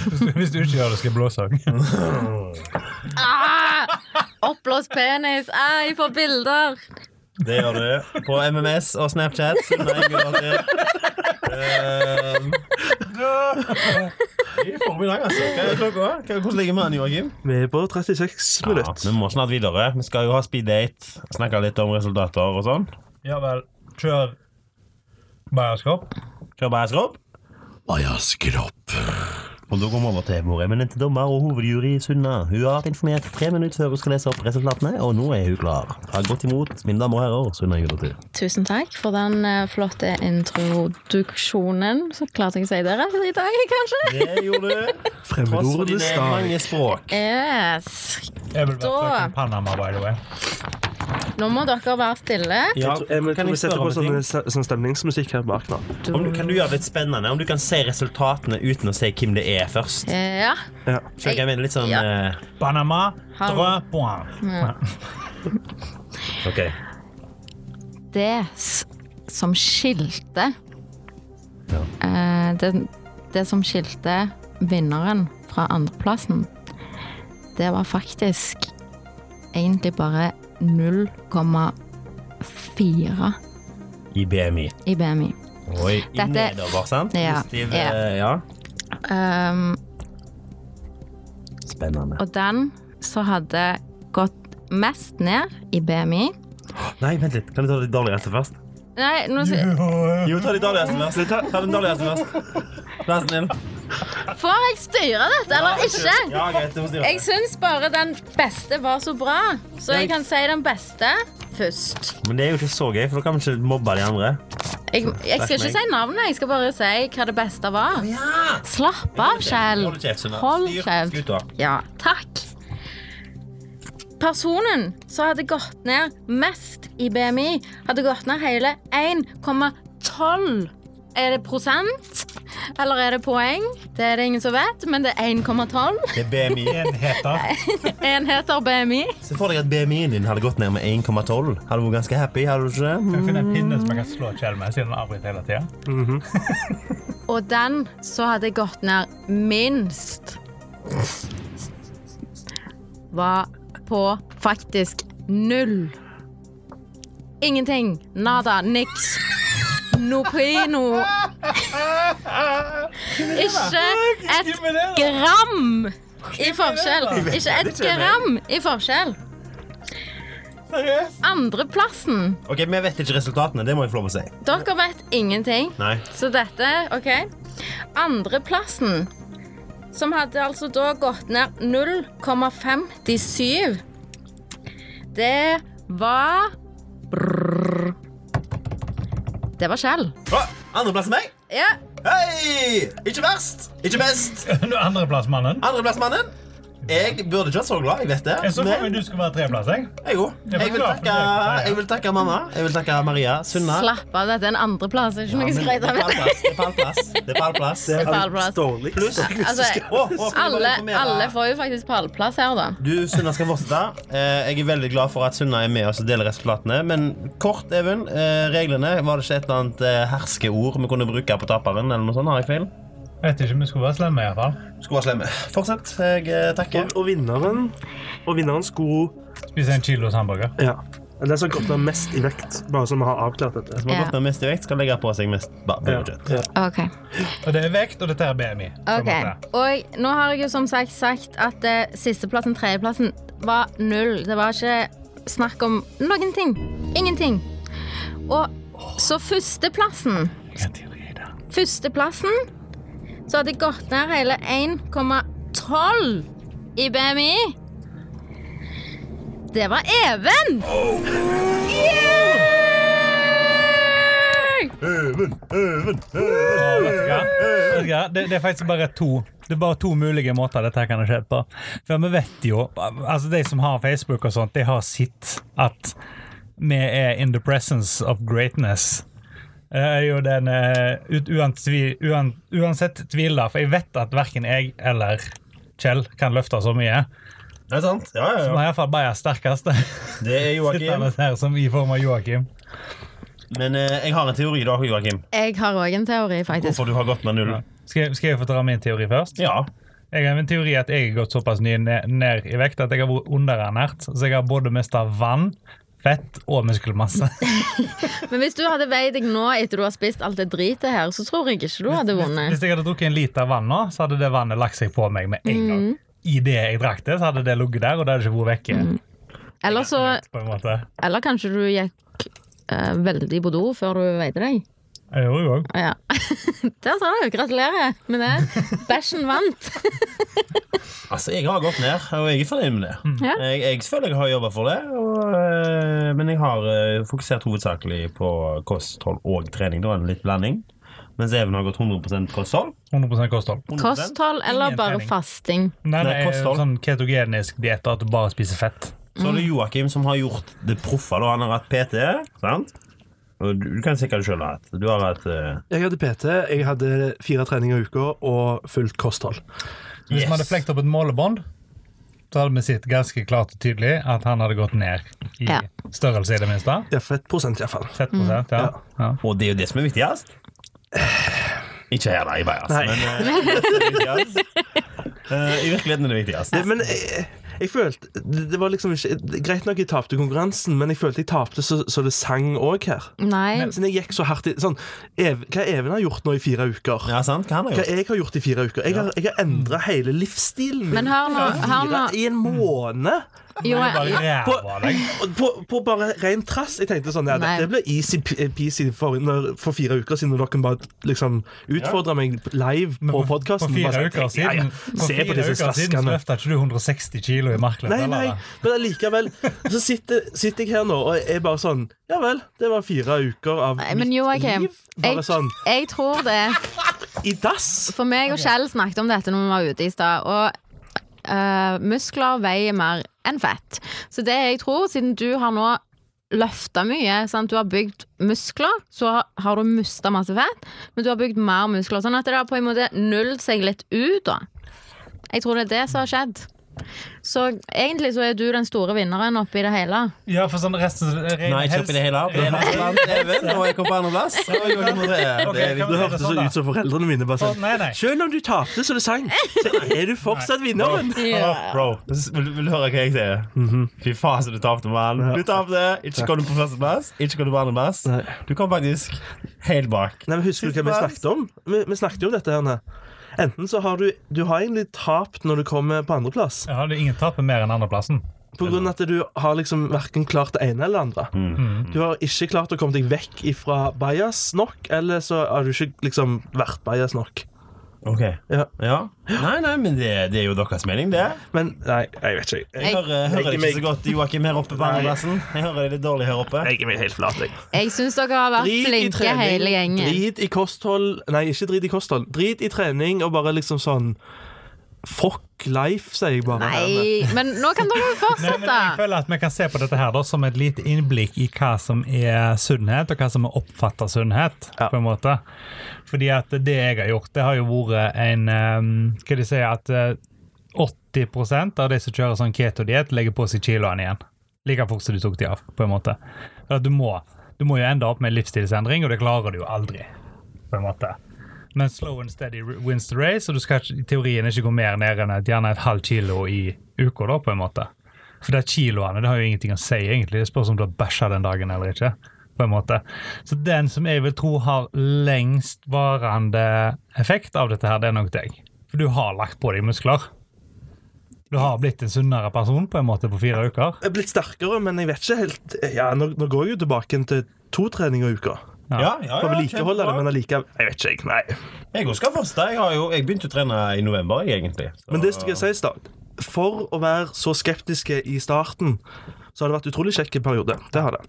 [SPEAKER 4] Hvis du, hvis du ikke gjør det, skal jeg blåse av.
[SPEAKER 2] Ah! Oppblåst penis. Ah, jeg får bilder.
[SPEAKER 3] Det gjør du. På MMS og Snapchat. så nei, jeg gjør det. Ehm. I formiddag, altså. Hva er klokka? Hva- Hvordan ligger vi an, Joakim?
[SPEAKER 5] Vi er på 36
[SPEAKER 3] Ja,
[SPEAKER 5] minutter.
[SPEAKER 3] vi må snart videre. Vi skal jo ha speed date. Snakke litt om resultater og sånn.
[SPEAKER 4] Ja vel. Kjør bajerskap.
[SPEAKER 3] Kjør bare skropp. Og da går vi over til vår eminente dommer og hovedjury Sunna. Hun har vært informert tre minutter før hun skal lese opp resultatene, og nå er hun klar. Ta godt imot, mine damer og herrer, Sunna Judatu.
[SPEAKER 2] Tusen takk for den eh, flotte introduksjonen. Så klarte jeg å si dere i dag, kanskje.
[SPEAKER 3] Det gjorde du. Tross for
[SPEAKER 5] Fremmedordene
[SPEAKER 3] dine
[SPEAKER 5] stadig.
[SPEAKER 3] mange språk.
[SPEAKER 2] Yes.
[SPEAKER 4] Jeg vil
[SPEAKER 2] Da-
[SPEAKER 4] være fucking Panama, by the way.
[SPEAKER 2] Nå må dere være stille.
[SPEAKER 3] Ja,
[SPEAKER 5] Jeg tror- jeg må sette på sånn, sånn stemningsmusikk her bak nå.
[SPEAKER 3] Om du, kan du gjøre det litt spennende? Om du kan si resultatene uten å si hvem det er først?
[SPEAKER 2] Eh, Ja.
[SPEAKER 5] Ja.
[SPEAKER 3] Skjønner du hva jeg mener? Litt sånn
[SPEAKER 2] Ja.
[SPEAKER 3] eh,
[SPEAKER 4] Panama,
[SPEAKER 2] Hallo.
[SPEAKER 4] tre poeng.
[SPEAKER 3] OK.
[SPEAKER 2] det s- som skilte eh, det, det som skilte vinneren fra andreplassen, det var faktisk egentlig bare 0,4
[SPEAKER 3] I BMI.
[SPEAKER 2] i BMI.
[SPEAKER 3] Oi, i
[SPEAKER 2] Dette-
[SPEAKER 3] nedover, sant?
[SPEAKER 2] Ja,
[SPEAKER 3] Positiv,
[SPEAKER 2] ja.
[SPEAKER 3] eh, ja.
[SPEAKER 2] Um,
[SPEAKER 3] Spennende.
[SPEAKER 2] og den som hadde gått mest ned i BMI
[SPEAKER 3] Nei, vent litt. Kan du ta de dårligste først?
[SPEAKER 2] Nei, nå skal,
[SPEAKER 3] Jo, ta de dårligste først. Ta, ta den dårligste først. Vær snill.
[SPEAKER 2] får jeg styre dette eller Ah, ikke?
[SPEAKER 3] Ja, greit, du må styre.
[SPEAKER 2] Jeg syns bare den beste var så bra, så jeg kan si den beste først.
[SPEAKER 3] Men det er jo ikke så gøy, for da kan vi ikke mobbe de andre.
[SPEAKER 2] Jeg, jeg skal ikke si navnet, jeg skal bare si hva det beste var.
[SPEAKER 3] Ja!
[SPEAKER 2] Slapp av, Kjell.
[SPEAKER 3] Hold kjeft, Sunna.
[SPEAKER 2] Hold
[SPEAKER 3] Styr
[SPEAKER 2] kjeft.
[SPEAKER 3] skuta.
[SPEAKER 2] Ja, takk. Personen som hadde gått ned mest i BMI, hadde gått ned hele 1,12 Er det prosent? Eller er det poeng? Det er det ingen som vet, men det er 1,12
[SPEAKER 3] Det er BMI.
[SPEAKER 4] Enheter.
[SPEAKER 2] enheter BMI.
[SPEAKER 3] Se for deg at BMI-en din hadde gått ned med 1,12. Hadde du vært ganske happy, hadde du ikke? Mm.
[SPEAKER 4] Kan jeg finne en pinne som jeg kan slå Kjell med, siden han avbryter hele tida?
[SPEAKER 2] Og den som hadde gått ned minst, var på faktisk null. Ingenting. Nada. Niks. Noprino. Ikke et gram i forskjell. Ikke et gram i forskjell. Andreplassen.
[SPEAKER 3] Ok, Vi vet ikke resultatene. Det må jeg få lov å si.
[SPEAKER 2] Dere vet ingenting.
[SPEAKER 3] Nei.
[SPEAKER 2] Så dette, ok Andreplassen Som hadde altså da gått ned 0,57 Det var Brrr. Det var Kjell.
[SPEAKER 3] Å, Andreplass enn meg.
[SPEAKER 2] Ja,
[SPEAKER 3] Hei! Ikke verst, ikke best.
[SPEAKER 6] Du er andreplassmannen.
[SPEAKER 3] Andreplassmannen. Jeg burde ikke vært så glad, jeg vet det.
[SPEAKER 6] Jeg så for
[SPEAKER 3] Men
[SPEAKER 6] meg du skulle være treplass. jeg.
[SPEAKER 3] jeg, jo.
[SPEAKER 6] Jeg
[SPEAKER 3] jeg, vil
[SPEAKER 6] forklarer
[SPEAKER 3] takke,
[SPEAKER 6] for det.
[SPEAKER 3] jeg vil takke mamma. Jeg vil takke Maria Sunna.
[SPEAKER 2] slapp av. Dette er en andreplass. Det er ikke
[SPEAKER 3] Ja,
[SPEAKER 2] noe
[SPEAKER 3] men det
[SPEAKER 2] skreit
[SPEAKER 3] er pallplass.
[SPEAKER 2] av.
[SPEAKER 3] Det er pallplass. Det er pallplass.
[SPEAKER 2] Det er pallplass.
[SPEAKER 5] Dårlig.
[SPEAKER 3] Pluss Å,
[SPEAKER 2] Altså,
[SPEAKER 3] å, skal vi bare
[SPEAKER 2] alle,
[SPEAKER 3] informere-
[SPEAKER 2] alle får jo faktisk pallplass her, da.
[SPEAKER 3] Du, Sunna skal fortsette. Eh, jeg er veldig glad for at Sunna er med oss og deler resultatene. Men kort, Even. Eh, reglene. Var det ikke et eller annet eh, herskeord vi kunne bruke på taperen? eller noe sånt? Har jeg feil?
[SPEAKER 6] Jeg vet ikke, vi skulle være slemme i hvert fall.
[SPEAKER 3] Skulle være slemme. Fortsett. Jeg eh, takker.
[SPEAKER 5] Og, og vinneren Og vinneren skulle
[SPEAKER 6] Spise en kilos hamburger.
[SPEAKER 5] Ja. Den som går ned mest i vekt, bare så vi har avklart dette.
[SPEAKER 3] Som har
[SPEAKER 2] Ja.
[SPEAKER 3] gått ned mest i vekt, skal legge på seg mest ba-
[SPEAKER 5] Ja.
[SPEAKER 3] bullshit.
[SPEAKER 5] Ja.
[SPEAKER 2] Ok.
[SPEAKER 6] Og det er vekt, og dette er BMI. på en
[SPEAKER 2] Ok,
[SPEAKER 6] måte.
[SPEAKER 2] og nå har jeg jo som sagt sagt at eh, sisteplassen, tredjeplassen var null. Det var ikke snakk om noen ting. Ingenting. Og så førsteplassen Førsteplassen så hadde jeg gått ned hele 1,12 i BMI. Det var Even!
[SPEAKER 6] Ja, vet du hva? Vet du hva? Det, det er faktisk bare to Det er bare to mulige måter dette her kan ha skjedd på. For vi vet jo Altså, de som har Facebook og sånt, de har sett at vi er in the presence of greatness. Det er jo den eh, ut- uantvi- uan, Uansett tvil, da, for jeg vet at verken jeg eller Kjell kan løfte så mye.
[SPEAKER 3] Det er sant. Ja,
[SPEAKER 6] Men
[SPEAKER 3] ja, ja.
[SPEAKER 6] iallfall Bayer sterkest.
[SPEAKER 3] Det er Joakim.
[SPEAKER 6] Sittende her som i form av Joakim.
[SPEAKER 3] Men eh, jeg har en teori da, Joakim.
[SPEAKER 2] Jeg har òg en teori, faktisk.
[SPEAKER 3] Hvorfor du har gått med null.
[SPEAKER 6] Skal, jeg- skal jeg få dra min teori først?
[SPEAKER 3] Ja.
[SPEAKER 6] Jeg har en teori at jeg har gått såpass ny ned, ned i vekt at jeg har vært underernært. Så jeg har både mista vann, fett og muskelmasse.
[SPEAKER 2] Men hvis du hadde veid deg nå etter du har spist alt det dritet her, så tror jeg ikke du hadde vunnet.
[SPEAKER 6] Hvis jeg hadde drukket en liter vann nå, så hadde det vannet lagt seg på meg med en gang. I det jeg drakk det, så hadde det ligget der, og det hadde ikke vært vekke.
[SPEAKER 2] Eller, så,
[SPEAKER 6] På en måte.
[SPEAKER 2] eller kanskje du gikk eh, veldig på do før du veide deg.
[SPEAKER 6] Jeg gjorde jo også.
[SPEAKER 2] Ja. Der sa du! Gratulerer med det. Bæsjen vant.
[SPEAKER 3] Altså, jeg har gått ned, og jeg er fornøyd med det.
[SPEAKER 2] Ja.
[SPEAKER 3] Jeg, jeg føler jeg har jobba for det, og, eh, men jeg har eh, fokusert hovedsakelig på kosthold og trening. Da en litt blanding. Mens Even har gått 100 kosthold.
[SPEAKER 6] 100 kosthold.
[SPEAKER 3] 100%.
[SPEAKER 2] Kosthold eller
[SPEAKER 6] Ingen
[SPEAKER 2] bare
[SPEAKER 6] trening.
[SPEAKER 2] fasting.
[SPEAKER 6] Nei,
[SPEAKER 3] Nei,
[SPEAKER 6] det er
[SPEAKER 3] kosthold.
[SPEAKER 6] sånn ketogenisk diett at du bare spiser fett.
[SPEAKER 3] Så er det Joakim som har gjort det proffa. da. Han har hatt PT. sant? Og du, du kan sikkert sjøl ha hatt. Du har hatt eh,
[SPEAKER 5] Jeg hadde PT, jeg hadde fire treninger i uka og fullt kosthold.
[SPEAKER 6] Hvis
[SPEAKER 3] Yes.
[SPEAKER 6] vi hadde flekt opp et målebånd, så hadde vi sett ganske klart og tydelig at han hadde gått ned i
[SPEAKER 2] Ja.
[SPEAKER 6] størrelse, i det minste.
[SPEAKER 5] Ja, fettprosent, iallfall.
[SPEAKER 6] Fettprosent, ja. ja.
[SPEAKER 3] Og det er jo det som er viktigst. Ikke her, da, i Bajas.
[SPEAKER 5] Nei.
[SPEAKER 3] Men eh, det er det viktigste. Eh, I virkeligheten er det viktigst.
[SPEAKER 5] Men jeg, jeg følte det, det var liksom ikke Greit nok jeg tapte konkurransen, men jeg følte jeg tapte så, så det sang òg her.
[SPEAKER 2] Nei.
[SPEAKER 5] Siden jeg gikk så hardt i sånn, Ev, Hva Even har gjort nå i fire uker?
[SPEAKER 3] Ja, sant? Hva han har
[SPEAKER 5] Hva
[SPEAKER 3] gjort?
[SPEAKER 5] jeg har gjort i fire uker? Jeg har, jeg har endra hele livsstilen min.
[SPEAKER 2] Men hør nå. Hør nå.
[SPEAKER 5] Fire, I en måned!
[SPEAKER 2] Jo,
[SPEAKER 6] Bare
[SPEAKER 2] jeg,
[SPEAKER 6] ræva av deg.
[SPEAKER 5] Og På, på bare ren trass. Jeg tenkte sånn, ja,
[SPEAKER 2] Nei.
[SPEAKER 5] Dette ble easy-peasy eh, for, når- for fire uker siden, når dere bare liksom utfordra meg live
[SPEAKER 6] Men
[SPEAKER 5] på podkasten.
[SPEAKER 6] For fire uker siden,
[SPEAKER 5] Ja, ja.
[SPEAKER 6] for
[SPEAKER 5] Se på
[SPEAKER 6] fire
[SPEAKER 5] disse
[SPEAKER 6] uker siden så
[SPEAKER 5] slaskene.
[SPEAKER 6] løfta ikke du 160 kilo i markløpet.
[SPEAKER 5] Nei, nei, men allikevel. Så sitter, sitter jeg her nå og er bare sånn Ja vel, det var fire uker av
[SPEAKER 2] Nei, men
[SPEAKER 5] mitt
[SPEAKER 2] Joakim,
[SPEAKER 5] liv. Bare
[SPEAKER 2] jeg,
[SPEAKER 5] sånn
[SPEAKER 2] jeg tror det.
[SPEAKER 5] i dass!
[SPEAKER 2] For meg og Kjell snakket om dette når vi var ute i stad, og eh, muskler veier mer enn fett. Så det jeg tror, siden du har nå løfta mye, sant? du har bygd muskler, så har du mista masse fett, men du har bygd mer muskler, sånn at det har på en måte nullet seg litt ut, da. Jeg tror det er det som har skjedd. Så egentlig så er du den store vinneren oppi det hele.
[SPEAKER 6] Ja, for sånn resten
[SPEAKER 3] Nei, ikke oppi det hele. Det er blant Even, og jeg kom på andreplass. og jeg gjorde nummer tre. Det
[SPEAKER 6] Ok,
[SPEAKER 3] er
[SPEAKER 6] kan
[SPEAKER 5] Det
[SPEAKER 6] vi-
[SPEAKER 3] viktig.
[SPEAKER 5] hørtes så ut som foreldrene mine. bare sånn
[SPEAKER 6] sånn, Nei, nei.
[SPEAKER 5] Selv om du tapte så det sang, så er du fortsatt vinneren.
[SPEAKER 3] Bro, vil, vil du høre hva jeg sier? Fy faen, så du tapte, mann. Du tapte. Ikke kom du på førsteplass, ikke kom du på andreplass. Du kom faktisk helt bak.
[SPEAKER 5] Nei, men Husker du hva vi snakket om? Vi, vi snakket jo om dette. Herne. Enten så har du Du har egentlig tapt når du kommer på andreplass,
[SPEAKER 6] Ja, det er ingen taper mer enn andreplassen.
[SPEAKER 5] på grunn av at du har liksom verken klart det ene eller det andre. Du har ikke klart å komme deg vekk ifra bias nok, eller så har du ikke liksom vært bias nok.
[SPEAKER 3] Ok.
[SPEAKER 5] Ja.
[SPEAKER 3] Ja. Nei, nei, men det, det er jo deres mening, det.
[SPEAKER 5] Men nei, jeg vet ikke. Jeg,
[SPEAKER 3] Jeg hører, hører det ikke så godt Joakim her oppe på andreplassen. Jeg hører det litt dårlig her oppe.
[SPEAKER 5] jeg er meg helt flat, jeg.
[SPEAKER 2] Jeg syns dere har vært flinke hele gjengen.
[SPEAKER 5] Drit i kosthold Nei, ikke drit i kosthold. Drit i trening og bare liksom sånn Fuck life, sier jeg bare.
[SPEAKER 2] Nei, men nå kan dere jo
[SPEAKER 6] Nei, men jeg
[SPEAKER 2] fortsette.
[SPEAKER 6] føler at vi kan se på dette her da, som et lite innblikk i hva som er sunnhet, og hva som er oppfatta sunnhet.
[SPEAKER 5] Ja.
[SPEAKER 6] på en måte. Fordi at det jeg har gjort, det har jo vært en ehm, Skal de si at eh, 80 av de som kjører sånn ketodiett, legger på seg kiloene igjen. Like fort som du tok de av, på en måte. For at du må, du må jo ende opp med en livsstilsendring, og det klarer du jo aldri, på en måte. Men slow and steady wins the race, og du skal ikke- i teorien ikke gå mer ned enn et, gjerne et halvt kilo i uka, da, på en måte. For det er kiloene, det har jo ingenting å si, egentlig. Det spørs om du har bæsja den dagen eller ikke. på en måte. Så den som jeg vil tro har lengst varende effekt av dette her, det er nok deg. For du har lagt på deg muskler. Du har blitt en sunnere person på en måte på fire uker.
[SPEAKER 5] Jeg er blitt sterkere, men jeg vet ikke helt Ja, Nå, nå går jeg jo tilbake igjen til to treninger i uka.
[SPEAKER 3] Ja, ja,
[SPEAKER 5] For å vedlikeholde det,
[SPEAKER 3] kjempebra.
[SPEAKER 5] men allikevel Jeg vet ikke, jeg. Nei.
[SPEAKER 3] Jeg også skal forstå. Jeg, har jo, jeg begynte å trene i november, jeg, egentlig. Så-
[SPEAKER 5] Men det skal jeg si i stad. For å være så skeptiske i starten, så har det vært utrolig kjekk periode. Det har det.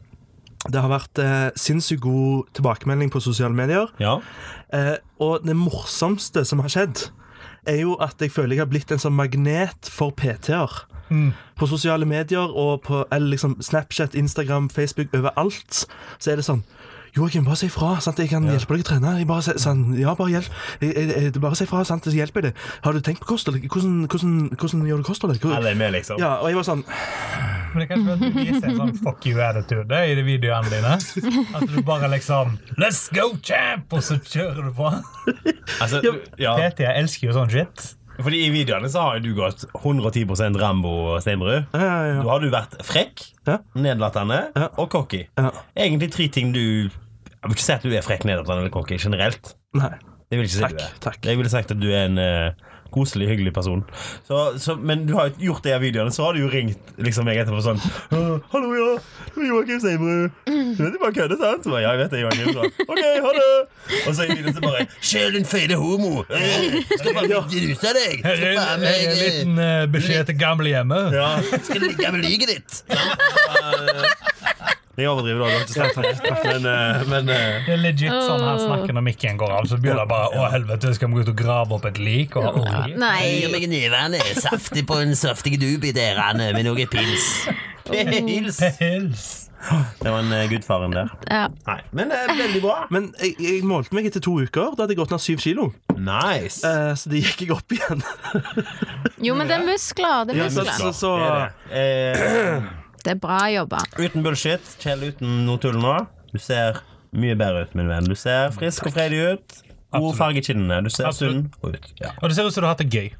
[SPEAKER 5] Det har vært eh, sinnssykt god tilbakemelding på sosiale medier.
[SPEAKER 3] Ja.
[SPEAKER 5] Eh, og det morsomste som har skjedd, er jo at jeg føler jeg har blitt en sånn magnet for PT-er. På sosiale medier og på eller liksom Snapchat, Instagram, Facebook, overalt. Så er det sånn Joakim, bare si fra. Sant? Jeg kan hjelpe deg å trene. Jeg bare, sier- sånn, ja, bare hjelp. Jeg, jeg, jeg, bare si fra, sant? så hjelper jeg deg. Har du tenkt på kostholdet? Hvordan, hvordan, hvordan gjør du kostholdet? Hvor-
[SPEAKER 3] Alle er med, liksom.
[SPEAKER 5] Ja, og jeg var sånn
[SPEAKER 6] Men det kan ikke være at du viser en sånn fuck you-attitude i de videoene dine. At du bare liksom Let's go, champ! Og så kjører du på.
[SPEAKER 3] Altså, du- ja.
[SPEAKER 6] PT elsker jo sånn shit.
[SPEAKER 3] Fordi I videoene så har jo du gått 110 Rambo Steinbrud.
[SPEAKER 5] ja, ja,
[SPEAKER 3] Da
[SPEAKER 5] ja.
[SPEAKER 3] har du vært frekk,
[SPEAKER 5] Ja.
[SPEAKER 3] nedlatende
[SPEAKER 5] Ja.
[SPEAKER 3] og cocky.
[SPEAKER 5] Ja.
[SPEAKER 3] Egentlig tre ting du Jeg vil ikke si at du er frekk, nedlatende eller cocky generelt.
[SPEAKER 5] Nei.
[SPEAKER 3] Det vil jeg ikke si
[SPEAKER 5] Takk,
[SPEAKER 3] du er.
[SPEAKER 5] takk.
[SPEAKER 3] Jeg ville sagt at du er en eh, koselig, hyggelig person. Så, så, men du har jo gjort det i videoene, så har du jo ringt liksom meg etterpå sånn «Åh, 'Hallo, ja. Det er Joakim Steinbrud. Du vet jeg bare kødder, sant?' Så bare, 'Ja, jeg vet det, Joakim.' Så, 'OK, ha det.' Og så i videoen så bare 'Sjel, din feite homo. Eh, Skal faen meg gruse deg. Skal
[SPEAKER 6] Her er
[SPEAKER 3] faen
[SPEAKER 6] en,
[SPEAKER 3] meg,
[SPEAKER 6] en
[SPEAKER 3] eh,
[SPEAKER 6] liten eh, beskjed til gamlehjemmet.
[SPEAKER 3] ja. Skal ligge med liket ditt. eh, Jeg overdriver, da. Det var ikke snakk om det. Men, eh, men eh,
[SPEAKER 6] Det er legit sånn han snakker når mikken går av. Så blir det bare 'Å, helvete, skal vi gå ut og grave opp et lik?' Og, og,
[SPEAKER 2] Nei.
[SPEAKER 7] meg nevene saftig på en saftig dupe i derene med noe pils.
[SPEAKER 3] Pils. Det var en eh, gudfaren der.
[SPEAKER 2] Ja.
[SPEAKER 3] Nei, men eh, veldig bra.
[SPEAKER 5] Men jeg, jeg målte meg etter to uker. Da hadde jeg gått ned syv kilo.
[SPEAKER 3] Nice.
[SPEAKER 5] Eh, så det gikk jeg opp igjen.
[SPEAKER 2] Jo, men det er muskler. Det er
[SPEAKER 5] så,
[SPEAKER 2] muskler.
[SPEAKER 5] så, så,
[SPEAKER 3] Det er det.
[SPEAKER 2] Det er bra jobba.
[SPEAKER 3] Eh, uten bullshit. Kjell uten noe tull nå. Du ser mye bedre ut, min venn. Du ser frisk og fredig ut. God farge i kinnene. Du ser sunn
[SPEAKER 6] Absolutt.
[SPEAKER 3] ut. Ja.
[SPEAKER 6] og det ser ut som du har hatt det gøy.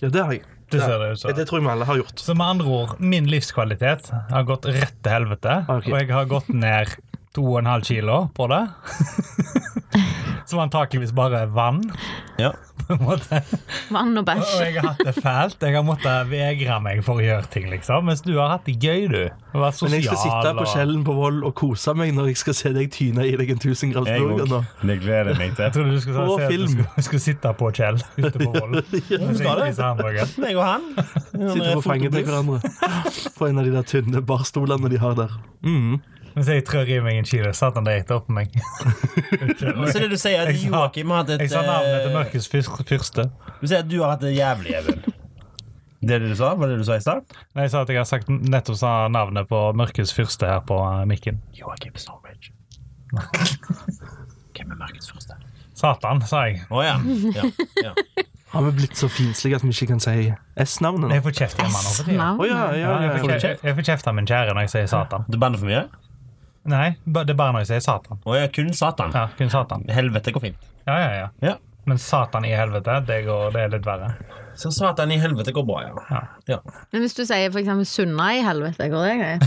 [SPEAKER 5] ja, det har jeg.
[SPEAKER 6] Det ser det ut
[SPEAKER 5] Ja,
[SPEAKER 6] som.
[SPEAKER 5] Det tror jeg vi alle har gjort.
[SPEAKER 6] Så med andre ord, min livskvalitet har gått rett til helvete.
[SPEAKER 5] Ok.
[SPEAKER 6] Og jeg har gått ned 2,5 kilo på det. Som antakeligvis bare er vann,
[SPEAKER 3] Ja.
[SPEAKER 6] på en måte.
[SPEAKER 2] Vann og
[SPEAKER 6] Og
[SPEAKER 2] bæsj.
[SPEAKER 6] jeg har hatt det fælt. Jeg har måttet vegre meg for å gjøre ting, liksom. Mens du har hatt det gøy, du. Og vært sosial.
[SPEAKER 5] Men jeg skal sitte på
[SPEAKER 6] og-
[SPEAKER 5] skjellen på Vold og kose meg når jeg skal se deg tyne i deg en tusen grads
[SPEAKER 3] Jeg
[SPEAKER 5] burger nå.
[SPEAKER 3] òg. Det gleder jeg meg
[SPEAKER 6] Jeg
[SPEAKER 3] til.
[SPEAKER 6] trodde du skulle
[SPEAKER 5] På
[SPEAKER 6] si at du
[SPEAKER 5] film.
[SPEAKER 6] skulle, skulle sitte på Kjell ute på Voll. Mens jeg spiser hamburger.
[SPEAKER 3] Meg og han.
[SPEAKER 5] Sitter på fanget til hverandre. På en av de der tynne barstolene de har der.
[SPEAKER 6] Mens jeg trør i meg en kilo. Satan, det gikk opp på meg.
[SPEAKER 3] Men så det du sier,
[SPEAKER 6] Jeg
[SPEAKER 3] at
[SPEAKER 6] sa-
[SPEAKER 3] Joakim har hatt et
[SPEAKER 6] Jeg sa navnet til
[SPEAKER 3] eh,
[SPEAKER 6] mørkets fyr- fyrste.
[SPEAKER 3] Du sier at du har hatt det jævlig, Even. Det er det du sa? Var det det du sa i stad?
[SPEAKER 6] Nei, jeg sa at jeg har sagt, nettopp sa navnet på mørkets fyrste her på eh, mikken.
[SPEAKER 3] Joakim Stormridge. Hvem er mørkets første?
[SPEAKER 6] Satan, sa jeg.
[SPEAKER 3] Å ja. ja. ja.
[SPEAKER 5] Har vi blitt så finslige at vi ikke kan si S-navnet nå?
[SPEAKER 6] Jeg får kjeft hjemme nå. for tiden.
[SPEAKER 5] Å ja, ja,
[SPEAKER 6] Ja, jeg
[SPEAKER 5] ja,
[SPEAKER 6] får
[SPEAKER 5] ja.
[SPEAKER 6] kjeft- jeg får kjeft av min kjære når jeg sier Satan.
[SPEAKER 3] Du banner for mye?
[SPEAKER 6] Nei, ba- det er bare når jeg sier Satan.
[SPEAKER 3] Å ja, kun Satan.
[SPEAKER 6] Ja, kun Satan.
[SPEAKER 3] Helvete går fint.
[SPEAKER 6] Ja, ja, ja.
[SPEAKER 3] Ja.
[SPEAKER 6] Men Satan i helvete, det, går, det er litt verre.
[SPEAKER 3] Så Satan i helvete går bra, ja. Ja.
[SPEAKER 2] Men hvis du sier for eksempel 'sunna i helvete', går det greit?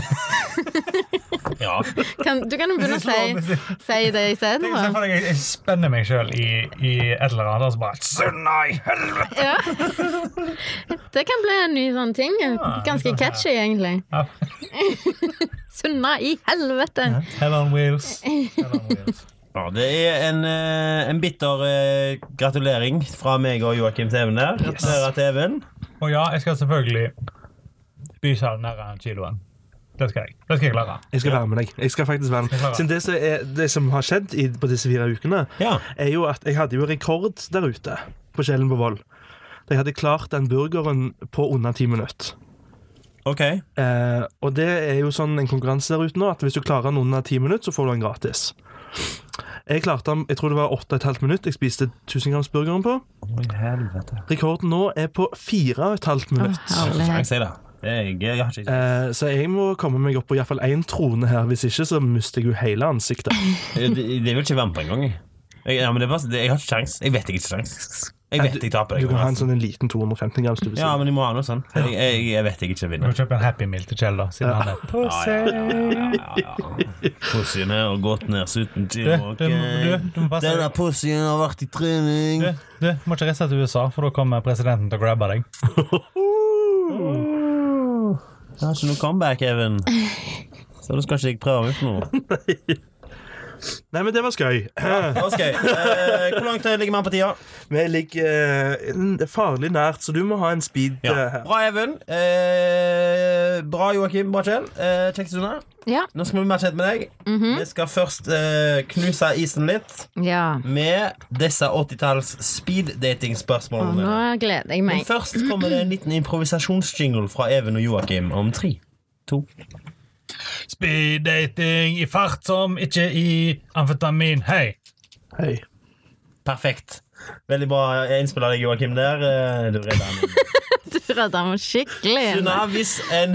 [SPEAKER 3] ja.
[SPEAKER 2] Kan, du kan jo begynne å si, si det
[SPEAKER 6] Jeg ser
[SPEAKER 2] isteden.
[SPEAKER 6] for deg, jeg- jeg spenner meg sjøl i, i et eller annet, og så bare Sunna i helvete!
[SPEAKER 2] Ja. Det kan bli en ny sånn ting. Ganske catchy, egentlig.
[SPEAKER 6] Ja.
[SPEAKER 2] Sunna i helvete!
[SPEAKER 6] Hell on wheels. Hell on wheels.
[SPEAKER 3] Ja, det er en, eh, en bitter eh, gratulering fra meg og Joakim Teven der. Gratulerer, Teven.
[SPEAKER 6] Og ja, jeg skal selvfølgelig spise den der kiloen. Det skal jeg. Det skal jeg klare.
[SPEAKER 5] Jeg skal være med deg. Jeg skal faktisk være med. Så det, som er, det som har skjedd i, på disse fire ukene,
[SPEAKER 3] Ja.
[SPEAKER 5] er jo at jeg hadde jo rekord der ute på Kjellen på Voll. Jeg hadde klart den burgeren på under ti minutter.
[SPEAKER 3] OK.
[SPEAKER 5] Eh, og det er jo sånn en konkurranse der ute nå at hvis du klarer den under ti minutter, så får du den gratis. Jeg klarte den, jeg tror det var åtte og et halvt minutt jeg spiste 1000-gramsburgeren på. Rekorden nå er på fire og et halvt minutt.
[SPEAKER 3] Jeg
[SPEAKER 2] Herlighet.
[SPEAKER 3] sier det. Jeg, jeg har ikke
[SPEAKER 5] Eh, så jeg må komme meg opp på iallfall én trone her, hvis ikke så mister jeg jo hele ansiktet.
[SPEAKER 3] Det det vil ikke være med på engang. Jeg, ja, men det er bare, det, jeg har ikke sjans. Jeg vet jeg ikke sjans. Jeg vet jeg taper.
[SPEAKER 5] Eh, Du kan ha en
[SPEAKER 3] konkurransen.
[SPEAKER 5] sånn en liten 250 grams du vil si.
[SPEAKER 3] Ja, men de må ha noe sånn. Jeg, jeg, jeg vet jeg ikke
[SPEAKER 6] Du
[SPEAKER 3] vinner.
[SPEAKER 6] må kjøpe en Happy Meal til Kjell, da. Siden han er på
[SPEAKER 3] Pussyen er og gått ned 17 kilo.
[SPEAKER 6] Du, du, du, du må passe
[SPEAKER 7] Denne
[SPEAKER 6] deg.
[SPEAKER 7] pussyen har vært i trening.
[SPEAKER 6] Du, du må ikke reise til USA, for da kommer presidenten til å grabbe deg.
[SPEAKER 3] Jeg har ikke noe comeback, Even. Så da skal ikke jeg prøve meg på noe.
[SPEAKER 5] Nei, men det var skøy.
[SPEAKER 3] Ok, eh, Hvor langt ligger man på tida?
[SPEAKER 5] Vi ligger eh, det er farlig nært, så du må ha en speed
[SPEAKER 3] Ja.
[SPEAKER 5] eh, her.
[SPEAKER 3] Bra, Even. Eh, bra, Joakim. Bra, Kjell. Eh, Kjekt, Sunna.
[SPEAKER 2] Ja.
[SPEAKER 3] Nå skal vi bli mer kjent med deg.
[SPEAKER 2] Mhm.
[SPEAKER 3] Vi skal først eh, knuse isen litt
[SPEAKER 2] ja.
[SPEAKER 3] med disse 80-talls
[SPEAKER 2] Og nå
[SPEAKER 3] speed-dating-spørsmålene.
[SPEAKER 2] gleder jeg
[SPEAKER 3] Men
[SPEAKER 2] meg.
[SPEAKER 3] først kommer det en liten improvisasjonsjingle fra Even og Joakim om tre, to
[SPEAKER 6] Speeddating i fart som ikke i amfetamin. Hei!
[SPEAKER 5] Hei.
[SPEAKER 3] Perfekt. Veldig bra innspill av deg, Joakim, der. Eh, Du redder han.
[SPEAKER 2] Du redda meg skikkelig.
[SPEAKER 3] Sunna, hvis en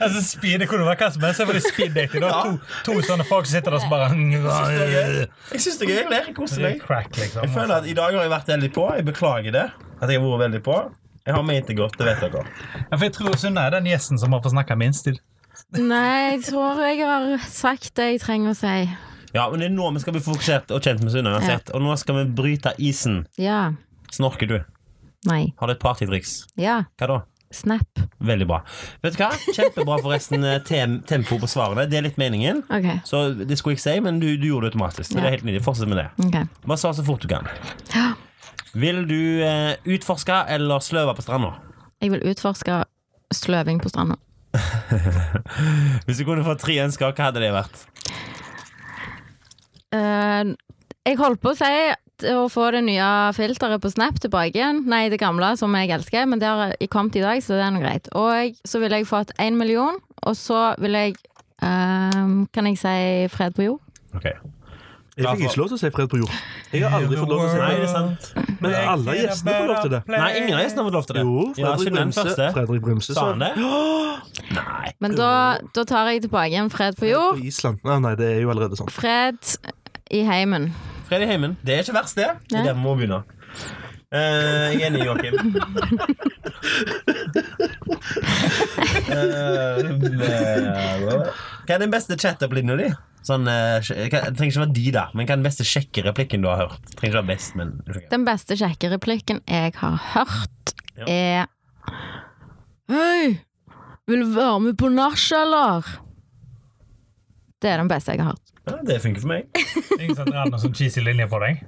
[SPEAKER 6] Altså, speed, det kunne vært hva som helst. Det er fordi speeddating. Du har to, to sånne folk som sitter der som bare
[SPEAKER 3] Jeg syns det er gøy. Jeg ler. Jeg koser
[SPEAKER 6] Det er
[SPEAKER 3] meg.
[SPEAKER 6] crack, liksom.
[SPEAKER 3] Jeg føler at I dag har jeg vært veldig på. Jeg beklager det. At jeg har vært veldig på. Jeg har ment det godt, det vet dere.
[SPEAKER 6] Ja, for jeg tror Sunna er den gjesten som har fått snakke minst til.
[SPEAKER 2] Nei, jeg tror jeg har sagt det jeg trenger å si.
[SPEAKER 3] Ja, men Det er nå vi skal bli fokusert og kjent med Sunna uansett. Og nå skal vi bryte isen.
[SPEAKER 2] Ja.
[SPEAKER 3] Snorker du?
[SPEAKER 2] Nei.
[SPEAKER 3] Har du et partytriks?
[SPEAKER 2] Ja.
[SPEAKER 3] Hva da?
[SPEAKER 2] Snap.
[SPEAKER 3] Veldig bra. Vet du hva? Kjempebra forresten eh, tem tempo på svarene. Det er litt meningen.
[SPEAKER 2] OK.
[SPEAKER 3] Så det skulle jeg ikke si, men du, du gjorde det automatisk. Så Det
[SPEAKER 2] Ja.
[SPEAKER 3] er helt nydelig. Fortsett med det.
[SPEAKER 2] ok.
[SPEAKER 3] Bare svar så fort du kan.
[SPEAKER 2] Ja.
[SPEAKER 3] Vil du eh, utforske eller sløve på stranda?
[SPEAKER 2] Jeg vil utforske sløving på stranda.
[SPEAKER 3] Hvis du kunne fått tre ønsker, hva hadde det vært?
[SPEAKER 2] Eh, jeg holdt på å si at å få det nye filteret på Snap tilbake igjen. Nei, det gamle, som jeg elsker, men det har jeg kommet i dag, så det er nå greit. Og så ville jeg fått én million, og så ville jeg ehm, Kan jeg si fred på jord?
[SPEAKER 3] Okay.
[SPEAKER 5] Jeg fikk ikke lov til å si fred på jord. Jeg har aldri fått lov til å si
[SPEAKER 3] Nei,
[SPEAKER 5] fred.
[SPEAKER 3] det er sant.
[SPEAKER 5] Men alle gjestene får lov til det.
[SPEAKER 3] Nei, ingen av gjestene har fått lov til det.
[SPEAKER 5] Jo,
[SPEAKER 3] ja, Sunne er
[SPEAKER 5] Fredrik
[SPEAKER 3] den
[SPEAKER 5] Bremse.
[SPEAKER 3] første.
[SPEAKER 5] Fredrik Bremse
[SPEAKER 3] Sa
[SPEAKER 5] sa
[SPEAKER 3] han det?
[SPEAKER 2] Men da, da tar jeg tilbake igjen fred på
[SPEAKER 5] På
[SPEAKER 2] jord.
[SPEAKER 5] Island. Nei, nei, det er jo allerede sånn.
[SPEAKER 2] Fred i heimen.
[SPEAKER 3] Freddy Heimen. Det er ikke verst, det. Det er
[SPEAKER 2] Nei.
[SPEAKER 3] der vi må begynne. Eh, jeg er enig, Joakim. Eh, men- hva er den beste chat-opplinja di? Sånn, eh, sj- hva- det trenger ikke være de, da, men hva er den beste kjekke replikken du har hørt? Det trenger ikke være best, men
[SPEAKER 2] Den beste kjekke replikken jeg har hørt,
[SPEAKER 3] Ja.
[SPEAKER 2] er Hei! Vil du være med på nach, eller? Det er den beste jeg har hørt.
[SPEAKER 3] ja, Det funker for meg.
[SPEAKER 6] Ingen som drar noen sånn cheesy linje på deg.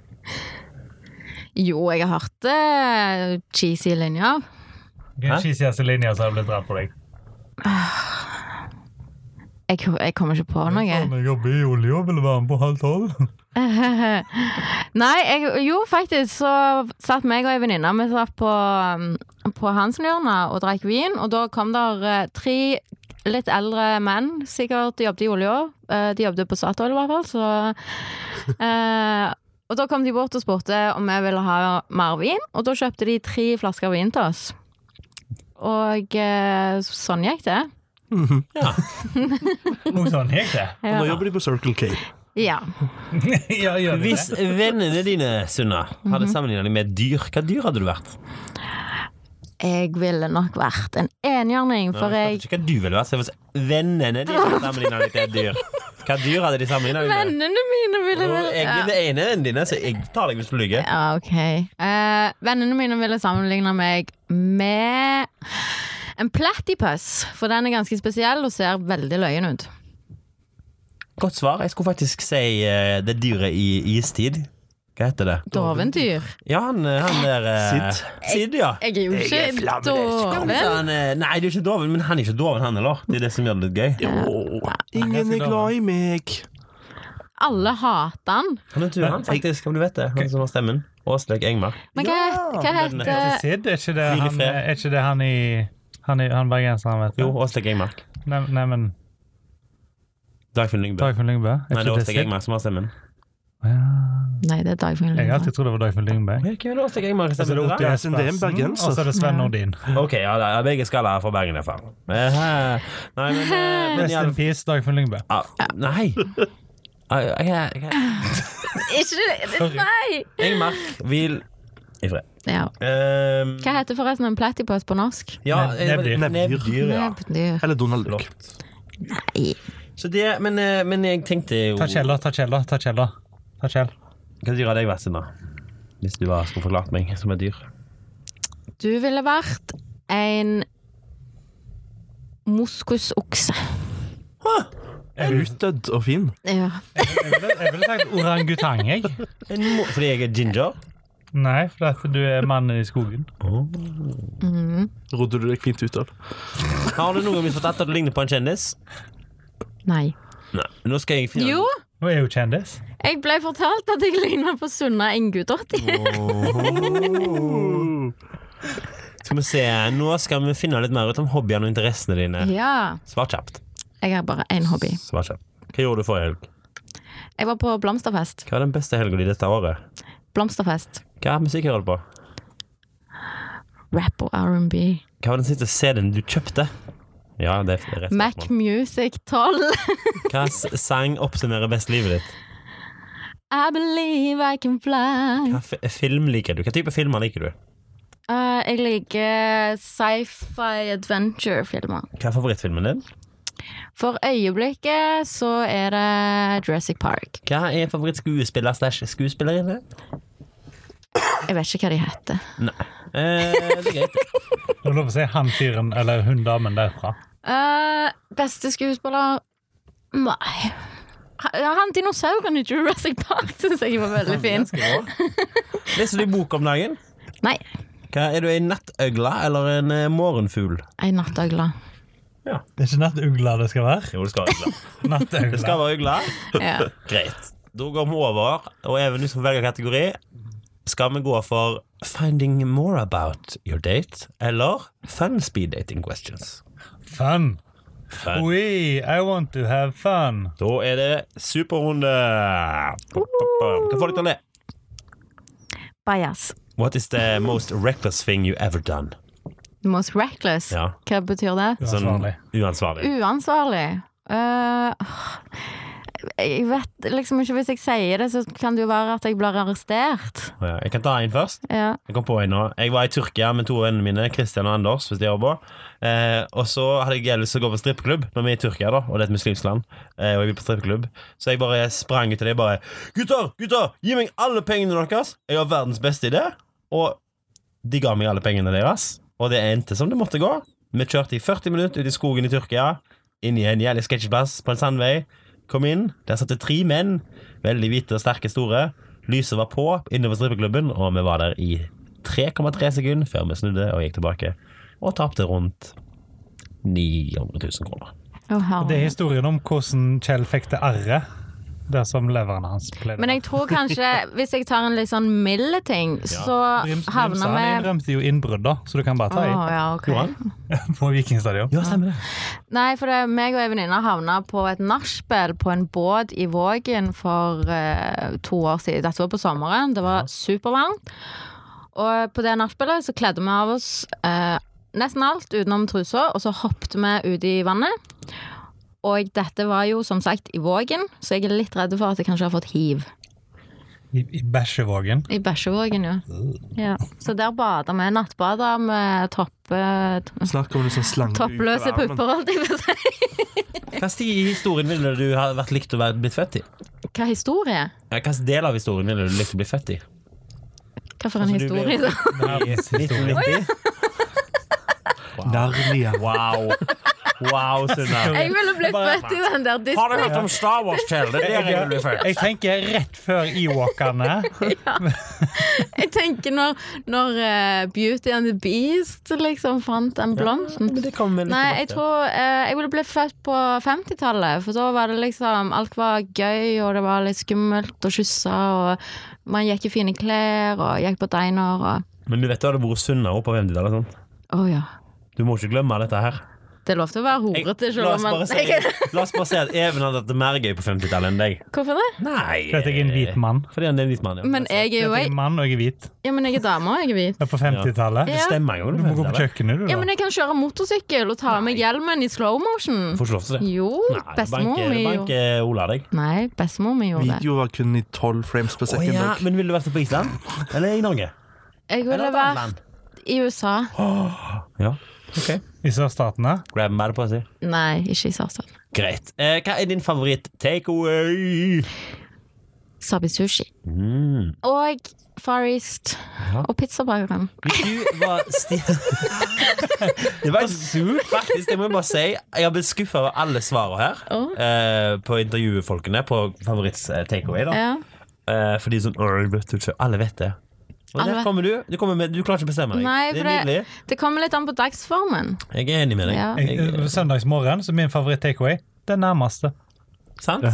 [SPEAKER 2] Jo, jeg har hørt eh, cheesy linjer.
[SPEAKER 6] Den
[SPEAKER 3] Hæ?
[SPEAKER 6] cheesieste linja som har blitt dratt på deg.
[SPEAKER 2] Jeg, jeg kommer ikke på noe.
[SPEAKER 6] Jeg jobber i olje og vil være med på halv tolv.
[SPEAKER 2] Nei, jeg, jo faktisk så satt meg og ei venninne Vi satt på, um, på Hansenhjørnet og drakk vin, og da kom der eh, tre litt eldre menn, sikkert de jobbet i olja. eh, de jobbet på Statoil i hvert fall, så eh, Og da kom de bort og spurte om vi ville ha mer vin, og da kjøpte de tre flasker vin til oss. Og eh, sånn gikk det.
[SPEAKER 6] Noe sånn gikk det.
[SPEAKER 2] Ja.
[SPEAKER 5] Nå jobber de på Circle K.
[SPEAKER 2] ja.
[SPEAKER 6] ja, gjør det.
[SPEAKER 3] Hvis vennene dine, Sunna,
[SPEAKER 2] Mhm.
[SPEAKER 3] hadde sammenligna deg med et dyr, hva dyr hadde du vært?
[SPEAKER 2] Jeg ville nok vært en enhjørning, for
[SPEAKER 3] Nei,
[SPEAKER 2] jeg
[SPEAKER 3] jeg vet ikke hva du ville vært. så hvis Vennene dine sammenligna deg til et dyr. Hva dyr hadde de sammenligna deg med?
[SPEAKER 2] Vennene mine ville
[SPEAKER 3] Og
[SPEAKER 2] vel
[SPEAKER 3] Jeg er
[SPEAKER 2] ja.
[SPEAKER 3] den ene vennen dine, så jeg tar deg hvis du lyver.
[SPEAKER 2] ja, ok. Eh, vennene mine ville sammenligne meg med en platypus, for den er ganske spesiell og ser veldig løyen ut.
[SPEAKER 3] Godt svar. Jeg skulle faktisk si eh, det dyret i istid. Hva heter det?
[SPEAKER 2] Dovendyr.
[SPEAKER 3] Ja, han, han der eh,
[SPEAKER 1] Sid.
[SPEAKER 3] Sid, ja.
[SPEAKER 2] Jeg er jo
[SPEAKER 1] Jeg er
[SPEAKER 2] ikke
[SPEAKER 1] flammende
[SPEAKER 2] doven.
[SPEAKER 3] Så han, eh, nei, du er ikke doven, men han er ikke doven, han heller. Det er det som gjør det litt gøy.
[SPEAKER 5] Ingen er glad i meg.
[SPEAKER 2] Alle hater han.
[SPEAKER 3] Han er tur, han, faktisk, om du vet det. Han som har stemmen. Åslaug Engmark.
[SPEAKER 2] Men hva, hva
[SPEAKER 3] den
[SPEAKER 2] heter
[SPEAKER 6] Sid, er ikke det
[SPEAKER 3] Hvil i
[SPEAKER 6] han,
[SPEAKER 3] fred.
[SPEAKER 6] er ikke det han i han, i, han bergenseren, vet
[SPEAKER 3] Jo,
[SPEAKER 6] du?
[SPEAKER 3] Åslaug Engmark.
[SPEAKER 6] Nei- Neimen,
[SPEAKER 3] Dagfinn Lyngbø.
[SPEAKER 6] Dagfinn Lyngbø? Er
[SPEAKER 3] Nei, det er
[SPEAKER 6] ikke det
[SPEAKER 3] Åslaug
[SPEAKER 6] Sid?
[SPEAKER 3] Engmark som har stemmen.
[SPEAKER 2] Nei, det er Dagfinn
[SPEAKER 6] Jeg har
[SPEAKER 2] Lyngbø.
[SPEAKER 6] alltid trodd det var Dagfinn Lyngbø.
[SPEAKER 3] Hvem er Altså, det Åslaug Engmark som
[SPEAKER 6] Så
[SPEAKER 3] stemmer?
[SPEAKER 6] Otto
[SPEAKER 5] Ja,
[SPEAKER 6] Jespersen,
[SPEAKER 5] det er en bergenser.
[SPEAKER 6] Mm, Og så er det Sven Nordin.
[SPEAKER 3] Ok, ja, det er begge skaller fra Bergen, i hvert fall. Eh, Nei, men, eh, men
[SPEAKER 6] Rest
[SPEAKER 3] ja,
[SPEAKER 6] in peace, Dagfinn Lyngbø.
[SPEAKER 3] ah, Nei! Ah, ok, ok.
[SPEAKER 2] Ikke Nei!
[SPEAKER 3] Engmark, hvil i fred.
[SPEAKER 2] Ja.
[SPEAKER 3] Um,
[SPEAKER 2] Hva heter forresten en platypus på norsk?
[SPEAKER 3] Ja,
[SPEAKER 6] Neb-
[SPEAKER 3] eh,
[SPEAKER 6] nebbdyr.
[SPEAKER 3] Nebbdyr, ja.
[SPEAKER 2] Nebbdyr.
[SPEAKER 5] Eller Donald Duck.
[SPEAKER 3] Flott.
[SPEAKER 2] Nei.
[SPEAKER 3] Så det, men, eh, men jeg tenkte jo
[SPEAKER 6] Ta Kjell, da. Ta Kjell, da. Ta Kjell, da. Ta Kjell.
[SPEAKER 3] Hva dyr hadde jeg vært siden da? Hvis du var, skulle forklart meg som et dyr.
[SPEAKER 2] Du ville vært en moskusokse.
[SPEAKER 5] Utdødd og fin.
[SPEAKER 2] Ja.
[SPEAKER 6] Jeg ville- Jeg ville sagt orangutang, jeg.
[SPEAKER 3] En mo Fordi jeg er ginger?
[SPEAKER 6] Nei, for at du er mannen i skogen.
[SPEAKER 5] Rodde du deg fint ut av.
[SPEAKER 3] Har du noen gang blitt fortalt at du ligner på en kjendis?
[SPEAKER 2] Nei.
[SPEAKER 3] Nei. Nå skal jeg finne
[SPEAKER 2] Jo,
[SPEAKER 6] Hun er jo kjendis.
[SPEAKER 2] jeg ble fortalt at jeg ligner på Sunna Ingudotter.
[SPEAKER 3] Skal vi se, Nå skal vi finne litt mer ut om hobbyene og interessene dine.
[SPEAKER 2] Ja.
[SPEAKER 3] Svar kjapt.
[SPEAKER 2] Jeg har bare én hobby.
[SPEAKER 3] Svar kjapt. Hva gjorde du forrige helg?
[SPEAKER 2] Jeg var på blomsterfest.
[SPEAKER 3] Hva var den beste helga di dette året?
[SPEAKER 2] Blomsterfest.
[SPEAKER 3] Hva er musikk hører du på?
[SPEAKER 2] Rap og R&B.
[SPEAKER 3] Hva var den siste CD-en du kjøpte? Ja, det er rett
[SPEAKER 2] Mac
[SPEAKER 3] spørsmål.
[SPEAKER 2] Music 12.
[SPEAKER 3] Hva s- sang oppsummerer best livet ditt?
[SPEAKER 2] I believe I can fly.
[SPEAKER 3] Hva f film liker du? Hva type filmer liker du?
[SPEAKER 2] Eh, jeg liker sci-fi adventure-filmer.
[SPEAKER 3] Hva er favorittfilmen din?
[SPEAKER 2] For øyeblikket så er det Jurassic Park.
[SPEAKER 3] Hva er favorittskuespiller slash skuespillerinne?
[SPEAKER 2] Jeg vet ikke hva de heter.
[SPEAKER 3] Eh, det er greit.
[SPEAKER 6] Det er lov å si han fyren eller hun damen derfra.
[SPEAKER 2] Eh, beste skuespiller Nei. Ha- ja, Han dinosauren i Jurassic Park syns jeg var veldig fin.
[SPEAKER 3] Leser du bok om dagen?
[SPEAKER 2] Nei,
[SPEAKER 3] Hva, er du ei nattøgle eller en eh, morgenfugl?
[SPEAKER 2] ei nattøgle.
[SPEAKER 6] Det er ikke nattugla det skal være.
[SPEAKER 3] Jo, det skal være øgle. Det skal
[SPEAKER 6] Nattugla.
[SPEAKER 3] være øgle.
[SPEAKER 2] Ja.
[SPEAKER 3] Greit. Da går vi over, og Even, du skal velge kategori. Skal vi gå for Finding more about your date eller Fun speed dating questions?
[SPEAKER 6] Fun.
[SPEAKER 3] Fun.
[SPEAKER 6] We, I want to have fun.
[SPEAKER 3] Da er det superrunde. Hva får deg til å le?
[SPEAKER 2] Bias.
[SPEAKER 3] What is the most reckless thing you ever done?
[SPEAKER 2] Most reckless.
[SPEAKER 3] Ja.
[SPEAKER 2] Hva betyr det?
[SPEAKER 3] Sånn
[SPEAKER 6] Uansvarlig.
[SPEAKER 3] uansvarlig.
[SPEAKER 2] Uansvarlig. Eh, åh. jeg vet liksom ikke Hvis jeg sier det, så kan det jo være at jeg blir arrestert.
[SPEAKER 3] Ja, Jeg kan ta en først.
[SPEAKER 2] Ja.
[SPEAKER 3] Jeg kom på en nå. Jeg var i Tyrkia med to av vennene mine, Christian og Anders. hvis de hører på. Eh, og så hadde jeg lyst til å gå på strippeklubb når vi er i Tyrkia, da, og det er et muslimsk land. Eh, og jeg vil på strippeklubb. Så jeg bare sprang ut til dem bare Gutter, gutter, gi meg alle pengene deres! Jeg har verdens beste idé. Og de ga meg alle pengene deres. Og det endte som det måtte gå. Vi kjørte i 40 minutter ut i skogen i Tyrkia, inn i en jævlig sketsjeplass på en sandvei. Kom inn, der satt det tre menn, veldig hvite og sterke store. Lyset var på inne på strippeklubben, og vi var der i 3,3 sekunder før vi snudde og gikk tilbake. Og tapte rundt 900 000 kroner.
[SPEAKER 2] Å, herregud.
[SPEAKER 6] Det er historien om hvordan Kjell fikk det arret dersom leveren hans pleide
[SPEAKER 2] Men jeg tror kanskje, hvis jeg tar en litt sånn mild ting, så
[SPEAKER 6] Brims- Brimsa,
[SPEAKER 2] havner
[SPEAKER 6] Han
[SPEAKER 2] vi
[SPEAKER 6] innrømte jo innbrudd, da, så du kan bare
[SPEAKER 2] Å,
[SPEAKER 6] ta i.
[SPEAKER 2] ja, ok.
[SPEAKER 6] På Vikingstadion.
[SPEAKER 3] Ja, stemmer det.
[SPEAKER 2] Nei, for det, meg og ei venninne havna på et nachspiel på en båt i Vågen for eh, to år siden. Dette var på sommeren, det var supervarmt. Og på det nachspielet så kledde vi av oss eh, nesten alt utenom trusa, og så hoppet vi ut i vannet. Og dette var jo som sagt i Vågen, så jeg er litt redd for at jeg kanskje har fått hiv.
[SPEAKER 6] I, i Bæsjevågen.
[SPEAKER 2] I Bæsjevågen, ja. ja. Så der bader vi. Nattbader med toppe,
[SPEAKER 5] Snakk om en sånn slange ut av
[SPEAKER 2] toppløse
[SPEAKER 5] armen.
[SPEAKER 2] pupper, holdt jeg på å si.
[SPEAKER 3] Hvilken sti i historien ville du ha vært likt å være blitt født i?
[SPEAKER 2] Hva historie?
[SPEAKER 3] Ja, Hvilken del av historien ville du likt å bli født i?
[SPEAKER 2] Hva for en
[SPEAKER 3] Altså, du ble-
[SPEAKER 2] historie? da?
[SPEAKER 6] Verdenshistorie.
[SPEAKER 3] 1990?
[SPEAKER 5] Narnia.
[SPEAKER 3] Wow. Wow, Sunna.
[SPEAKER 2] Jeg ville blitt født i den der
[SPEAKER 3] Har du
[SPEAKER 2] Disney.
[SPEAKER 3] hørt om Star Wars, Kjell? Det er der jeg vil bli født.
[SPEAKER 6] Jeg tenker rett før Ewalkene.
[SPEAKER 2] Jeg tenker når, når eh, Beauty and the Beast liksom fant den blomsten.
[SPEAKER 3] Men det kommer vi litt
[SPEAKER 2] Nei, jeg
[SPEAKER 3] tilbake til.
[SPEAKER 2] tror eh, jeg ville blitt født på 50-tallet, for da var det liksom Alt var gøy, og det var litt skummelt å kysse, og man gikk i fine klær, og gikk på diner, og
[SPEAKER 3] Men du vet du hadde vært Sunna opp av MD-tallet, sant?
[SPEAKER 2] Å ja.
[SPEAKER 3] Du må ikke glemme dette her.
[SPEAKER 2] Det er lov til å være horete,
[SPEAKER 3] la,
[SPEAKER 2] selv
[SPEAKER 3] oss
[SPEAKER 2] om man
[SPEAKER 3] bare si, la oss bare si at Even hadde hatt det mer gøy på 50-tallet enn deg.
[SPEAKER 2] Hvorfor det?
[SPEAKER 3] Nei.
[SPEAKER 6] For at jeg er en hvit mann.
[SPEAKER 3] Fordi han er en hvit mann, ja.
[SPEAKER 2] Men jeg er jo
[SPEAKER 6] For at
[SPEAKER 2] ei
[SPEAKER 6] jeg er mann, og jeg er hvit.
[SPEAKER 2] Ja, men jeg er dame, og jeg er hvit.
[SPEAKER 6] Jeg er på 50-tallet.
[SPEAKER 2] Ja.
[SPEAKER 3] Det stemmer jo.
[SPEAKER 6] Du må gå på kjøkkenet, du,
[SPEAKER 2] Ja, men
[SPEAKER 6] da.
[SPEAKER 2] jeg kan kjøre motorsykkel og ta av meg hjelmen i slow motion.
[SPEAKER 3] Får ikke lov til det.
[SPEAKER 2] Jo,
[SPEAKER 3] Nei, det
[SPEAKER 2] bestemor
[SPEAKER 3] banker,
[SPEAKER 2] mi
[SPEAKER 3] det
[SPEAKER 2] gjorde
[SPEAKER 3] banker Ola deg.
[SPEAKER 2] Nei, bestemor mi gjorde det.
[SPEAKER 5] Video var kun i 12 frames
[SPEAKER 3] Å
[SPEAKER 5] per second.
[SPEAKER 3] ja,
[SPEAKER 5] Dag.
[SPEAKER 3] men ville du vært på Island? Eller i Norge?
[SPEAKER 2] Jeg ville
[SPEAKER 3] Eller et annet land?
[SPEAKER 2] vært i USA.
[SPEAKER 3] Ja.
[SPEAKER 6] I sørstatene.
[SPEAKER 3] Grab meg det på å si.
[SPEAKER 2] Nei, ikke i Sarsan.
[SPEAKER 3] Greit. Eh, hva er din favoritt takeaway?
[SPEAKER 2] Sabi sushi.
[SPEAKER 3] Mm.
[SPEAKER 2] Og Far East. Og pizzabakeren.
[SPEAKER 3] Hvis du var sti... Det var surt, faktisk. Jeg må bare si Jeg har blitt skuffa over alle svarene her
[SPEAKER 2] Åh.
[SPEAKER 3] eh, på intervjufolkene på favoritt-takeaway. da
[SPEAKER 2] Ja.
[SPEAKER 3] eh, Fordi sånn «Åh, vet du ikke Alle vet det. Og
[SPEAKER 2] Alle
[SPEAKER 3] der
[SPEAKER 2] vet-
[SPEAKER 3] kommer du. Du, kommer med, du klarer ikke å bestemme deg.
[SPEAKER 2] Nei,
[SPEAKER 3] det
[SPEAKER 2] for
[SPEAKER 3] er nydelig.
[SPEAKER 2] det, det kommer litt an på dagsformen.
[SPEAKER 3] Jeg er enig med deg.
[SPEAKER 2] Ja.
[SPEAKER 6] Jeg, eh, søndagsmorgen, så min favoritt-takeaway, den nærmeste.
[SPEAKER 3] Sant?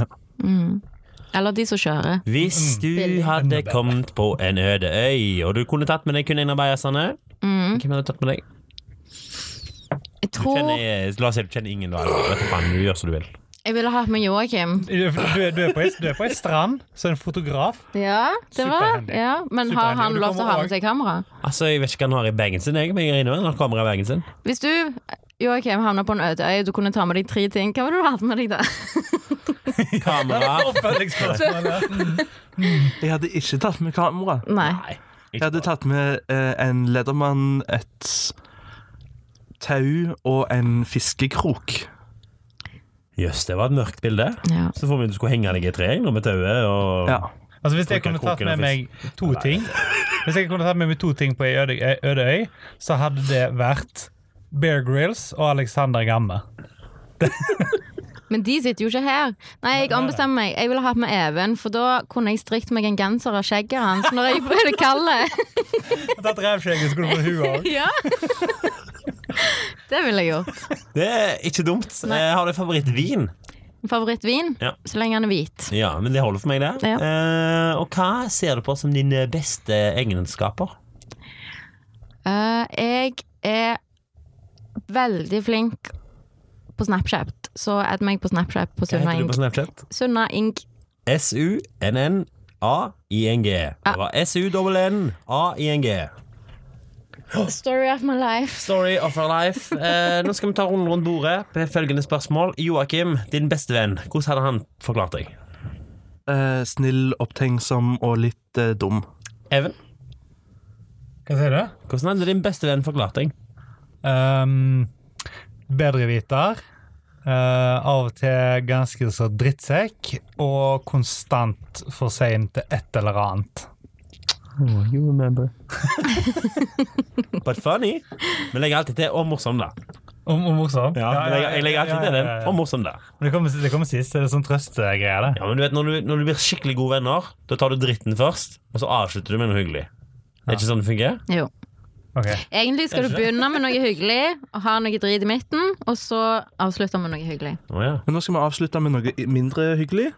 [SPEAKER 2] Eller de som kjører.
[SPEAKER 3] Hvis
[SPEAKER 6] Mm.
[SPEAKER 3] du hadde kommet på en øde øy, og du kunne tatt med deg kun en av bajasene
[SPEAKER 2] Mm.
[SPEAKER 3] Hvem hadde du tatt med deg?
[SPEAKER 2] Jeg
[SPEAKER 3] Du
[SPEAKER 2] tror
[SPEAKER 3] kjenner, eh, la oss si du kjenner ingen. Da. Vet du faen, du gjør som du vil.
[SPEAKER 2] jeg ville hatt med Joakim.
[SPEAKER 6] Du, du, er- du er på ei- du er på ei strand, så er det en fotograf.
[SPEAKER 2] Ja, det var
[SPEAKER 6] Superhandy.
[SPEAKER 2] ja. Men har
[SPEAKER 6] Superhandy, og
[SPEAKER 2] han
[SPEAKER 6] du
[SPEAKER 2] lov til å ha
[SPEAKER 6] kommer
[SPEAKER 2] med seg kamera?
[SPEAKER 3] Altså, Jeg vet ikke hva han har i bagen sin, jeg, men jeg regner med han har kamera i bagen sin.
[SPEAKER 2] Hvis du Joakim havna på en øde øy, og du kunne ta med deg tre ting, hva ville du hatt med deg da?
[SPEAKER 3] Kamera.
[SPEAKER 6] Oppfølgingsspørsmålet.
[SPEAKER 5] Jeg hadde ikke tatt med kamera.
[SPEAKER 2] Nei.
[SPEAKER 5] Jeg hadde tatt med eh, en Ledermann, et tau og en fiskekrok.
[SPEAKER 3] Jøss, det var et mørkt bilde.
[SPEAKER 2] Ja.
[SPEAKER 3] Så får vi at du skulle henge deg i treet jeg, nå, med tauet og
[SPEAKER 5] Ja.
[SPEAKER 6] Altså Hvis jeg
[SPEAKER 3] Koken,
[SPEAKER 6] kunne tatt
[SPEAKER 3] koken og
[SPEAKER 6] med meg to ting Hvis jeg kunne tatt med meg to ting på ei øde, ei øde øy, så hadde det vært Bear Grills og Alexander Gamme.
[SPEAKER 2] Men de sitter jo ikke her. Nei, jeg ombestemmer meg. Jeg ville hatt med Even, for da kunne jeg strikt meg en genser av skjegget hans når jeg ble det kalde.
[SPEAKER 6] Og Tatt revskjegget, så kunne du få huet òg.
[SPEAKER 2] Ja. Det ville jeg gjort.
[SPEAKER 3] Det er ikke dumt.
[SPEAKER 2] Nei.
[SPEAKER 3] Eh, har du favorittvin?
[SPEAKER 2] Favorittvin?
[SPEAKER 3] Ja.
[SPEAKER 2] Så lenge han er hvit.
[SPEAKER 3] Ja, men det holder for meg, det.
[SPEAKER 2] Ja.
[SPEAKER 3] Eh, og hva ser du på som dine beste egenskaper?
[SPEAKER 2] Eh, jeg er veldig flink på Snapchat, så add meg på Snapchat på
[SPEAKER 3] Hva
[SPEAKER 2] Sunna
[SPEAKER 3] heter du
[SPEAKER 2] Ing.
[SPEAKER 3] på Snapchat?
[SPEAKER 2] Sunna Ing.
[SPEAKER 3] S-U-N-N-A-I-N-G. Det var S-U-N-N-A-I-N-G.
[SPEAKER 2] Story of my life.
[SPEAKER 3] Story of our life. Eh, nå skal vi ta runden rundt bordet med følgende spørsmål. Joakim, din beste venn, hvordan hadde han forklart deg?
[SPEAKER 5] Eh, snill, opptenksom og litt eh, dum.
[SPEAKER 3] Even,
[SPEAKER 6] Hva sier du?
[SPEAKER 3] hvordan hadde din beste venn forklart deg?
[SPEAKER 6] Um, Bedreviter. eh, av og til ganske så drittsekk. Og konstant for sein til et eller annet.
[SPEAKER 3] But funny. Vi legger alltid til 'og morsom', da.
[SPEAKER 6] Og og morsom.
[SPEAKER 3] Ja, jeg, legger, jeg legger alltid til den.
[SPEAKER 6] ja, ja.
[SPEAKER 3] Og morsom, da.
[SPEAKER 6] Men Det kommer, det kommer sist. Det er sånn trøstegreier, det.
[SPEAKER 3] Ja, men du vet, når du, når du blir skikkelig gode venner, da tar du dritten først, og så avslutter du med noe hyggelig. Er det ikke sånn det fungerer?
[SPEAKER 2] Jo.
[SPEAKER 6] Ok.
[SPEAKER 2] Egentlig skal du begynne med noe hyggelig, og ha noe drit i midten, og så avslutte med noe hyggelig.
[SPEAKER 3] Å, ja.
[SPEAKER 5] Men nå skal vi avslutte med noe i- mindre hyggelig.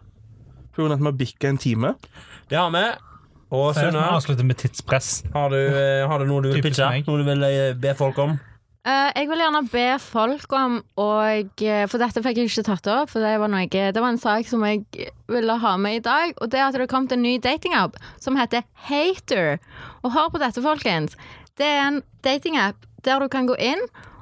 [SPEAKER 5] På grunn av at vi har bikka en time.
[SPEAKER 3] Det har vi. Og
[SPEAKER 6] Så jeg
[SPEAKER 3] Sunna,
[SPEAKER 6] avslutter med tidspress.
[SPEAKER 3] har, du, eh, har du noe du vil
[SPEAKER 6] Typisk
[SPEAKER 3] pitche?
[SPEAKER 6] meg.
[SPEAKER 3] Noe du vil eh, be folk om?
[SPEAKER 2] Eh, jeg vil gjerne be folk om og, eh, For dette fikk jeg ikke tatt opp, for det var, noe, det var en sak som jeg ville ha med i dag. Og det er at det kom til en ny datingapp som heter Hater. Og hør på dette, folkens. Det er en datingapp der du kan gå inn,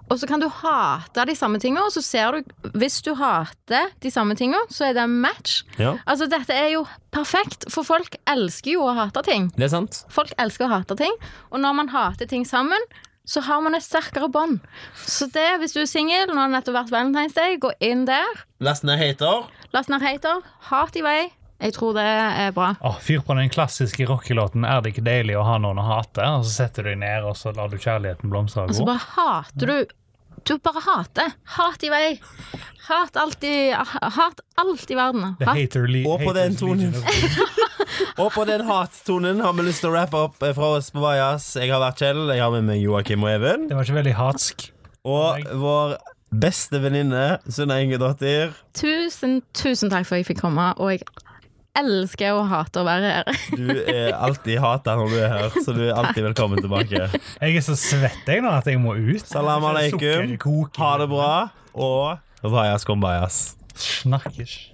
[SPEAKER 2] og så kan du hate de samme tingene. Og så ser du Hvis du hater de samme tingene, så er det en match.
[SPEAKER 3] Ja.
[SPEAKER 2] Altså, dette er jo perfekt, for folk elsker jo å hate ting.
[SPEAKER 3] Det er sant.
[SPEAKER 2] Folk elsker å hate ting, og når man hater ting sammen, så har man et sterkere bånd. Så det, hvis du er singel, nå har det nettopp vært Valentine's Day, gå inn der.
[SPEAKER 3] Last ned hater.
[SPEAKER 2] Last ned hater. Hat i vei. Jeg tror det er bra.
[SPEAKER 6] Åh, fyr på den klassiske rockelåten 'Er det ikke deilig å ha noen å hate?' Og så setter du deg ned, og så lar du kjærligheten blomstre og
[SPEAKER 2] Og så
[SPEAKER 6] gå.
[SPEAKER 2] bare hater du Du bare hater. Hat i vei. Hat alt i, hat alt i verden.
[SPEAKER 6] The
[SPEAKER 2] Hat
[SPEAKER 6] hater le-
[SPEAKER 3] Og på
[SPEAKER 6] haters
[SPEAKER 3] den tonen.
[SPEAKER 6] legion of-
[SPEAKER 3] Og på den hattonen har vi lyst til å rappe opp eh, fra oss på Vajas. Jeg har vært Kjell, jeg har med meg Joakim og Even.
[SPEAKER 6] Det var ikke veldig hatsk.
[SPEAKER 3] Og vår beste venninne Sunna Ingedottir.
[SPEAKER 2] Tusen, tusen takk for at jeg fikk komme, og jeg elsker og hater å være her.
[SPEAKER 3] Du er alltid hata når du er her, så du er alltid velkommen tilbake.
[SPEAKER 6] Jeg er så svett jeg nå at jeg må ut.
[SPEAKER 3] Salam aleikum.
[SPEAKER 6] Sukkerkoking.
[SPEAKER 3] Ha det bra, og Vajas kom bajas.
[SPEAKER 6] Snakkes.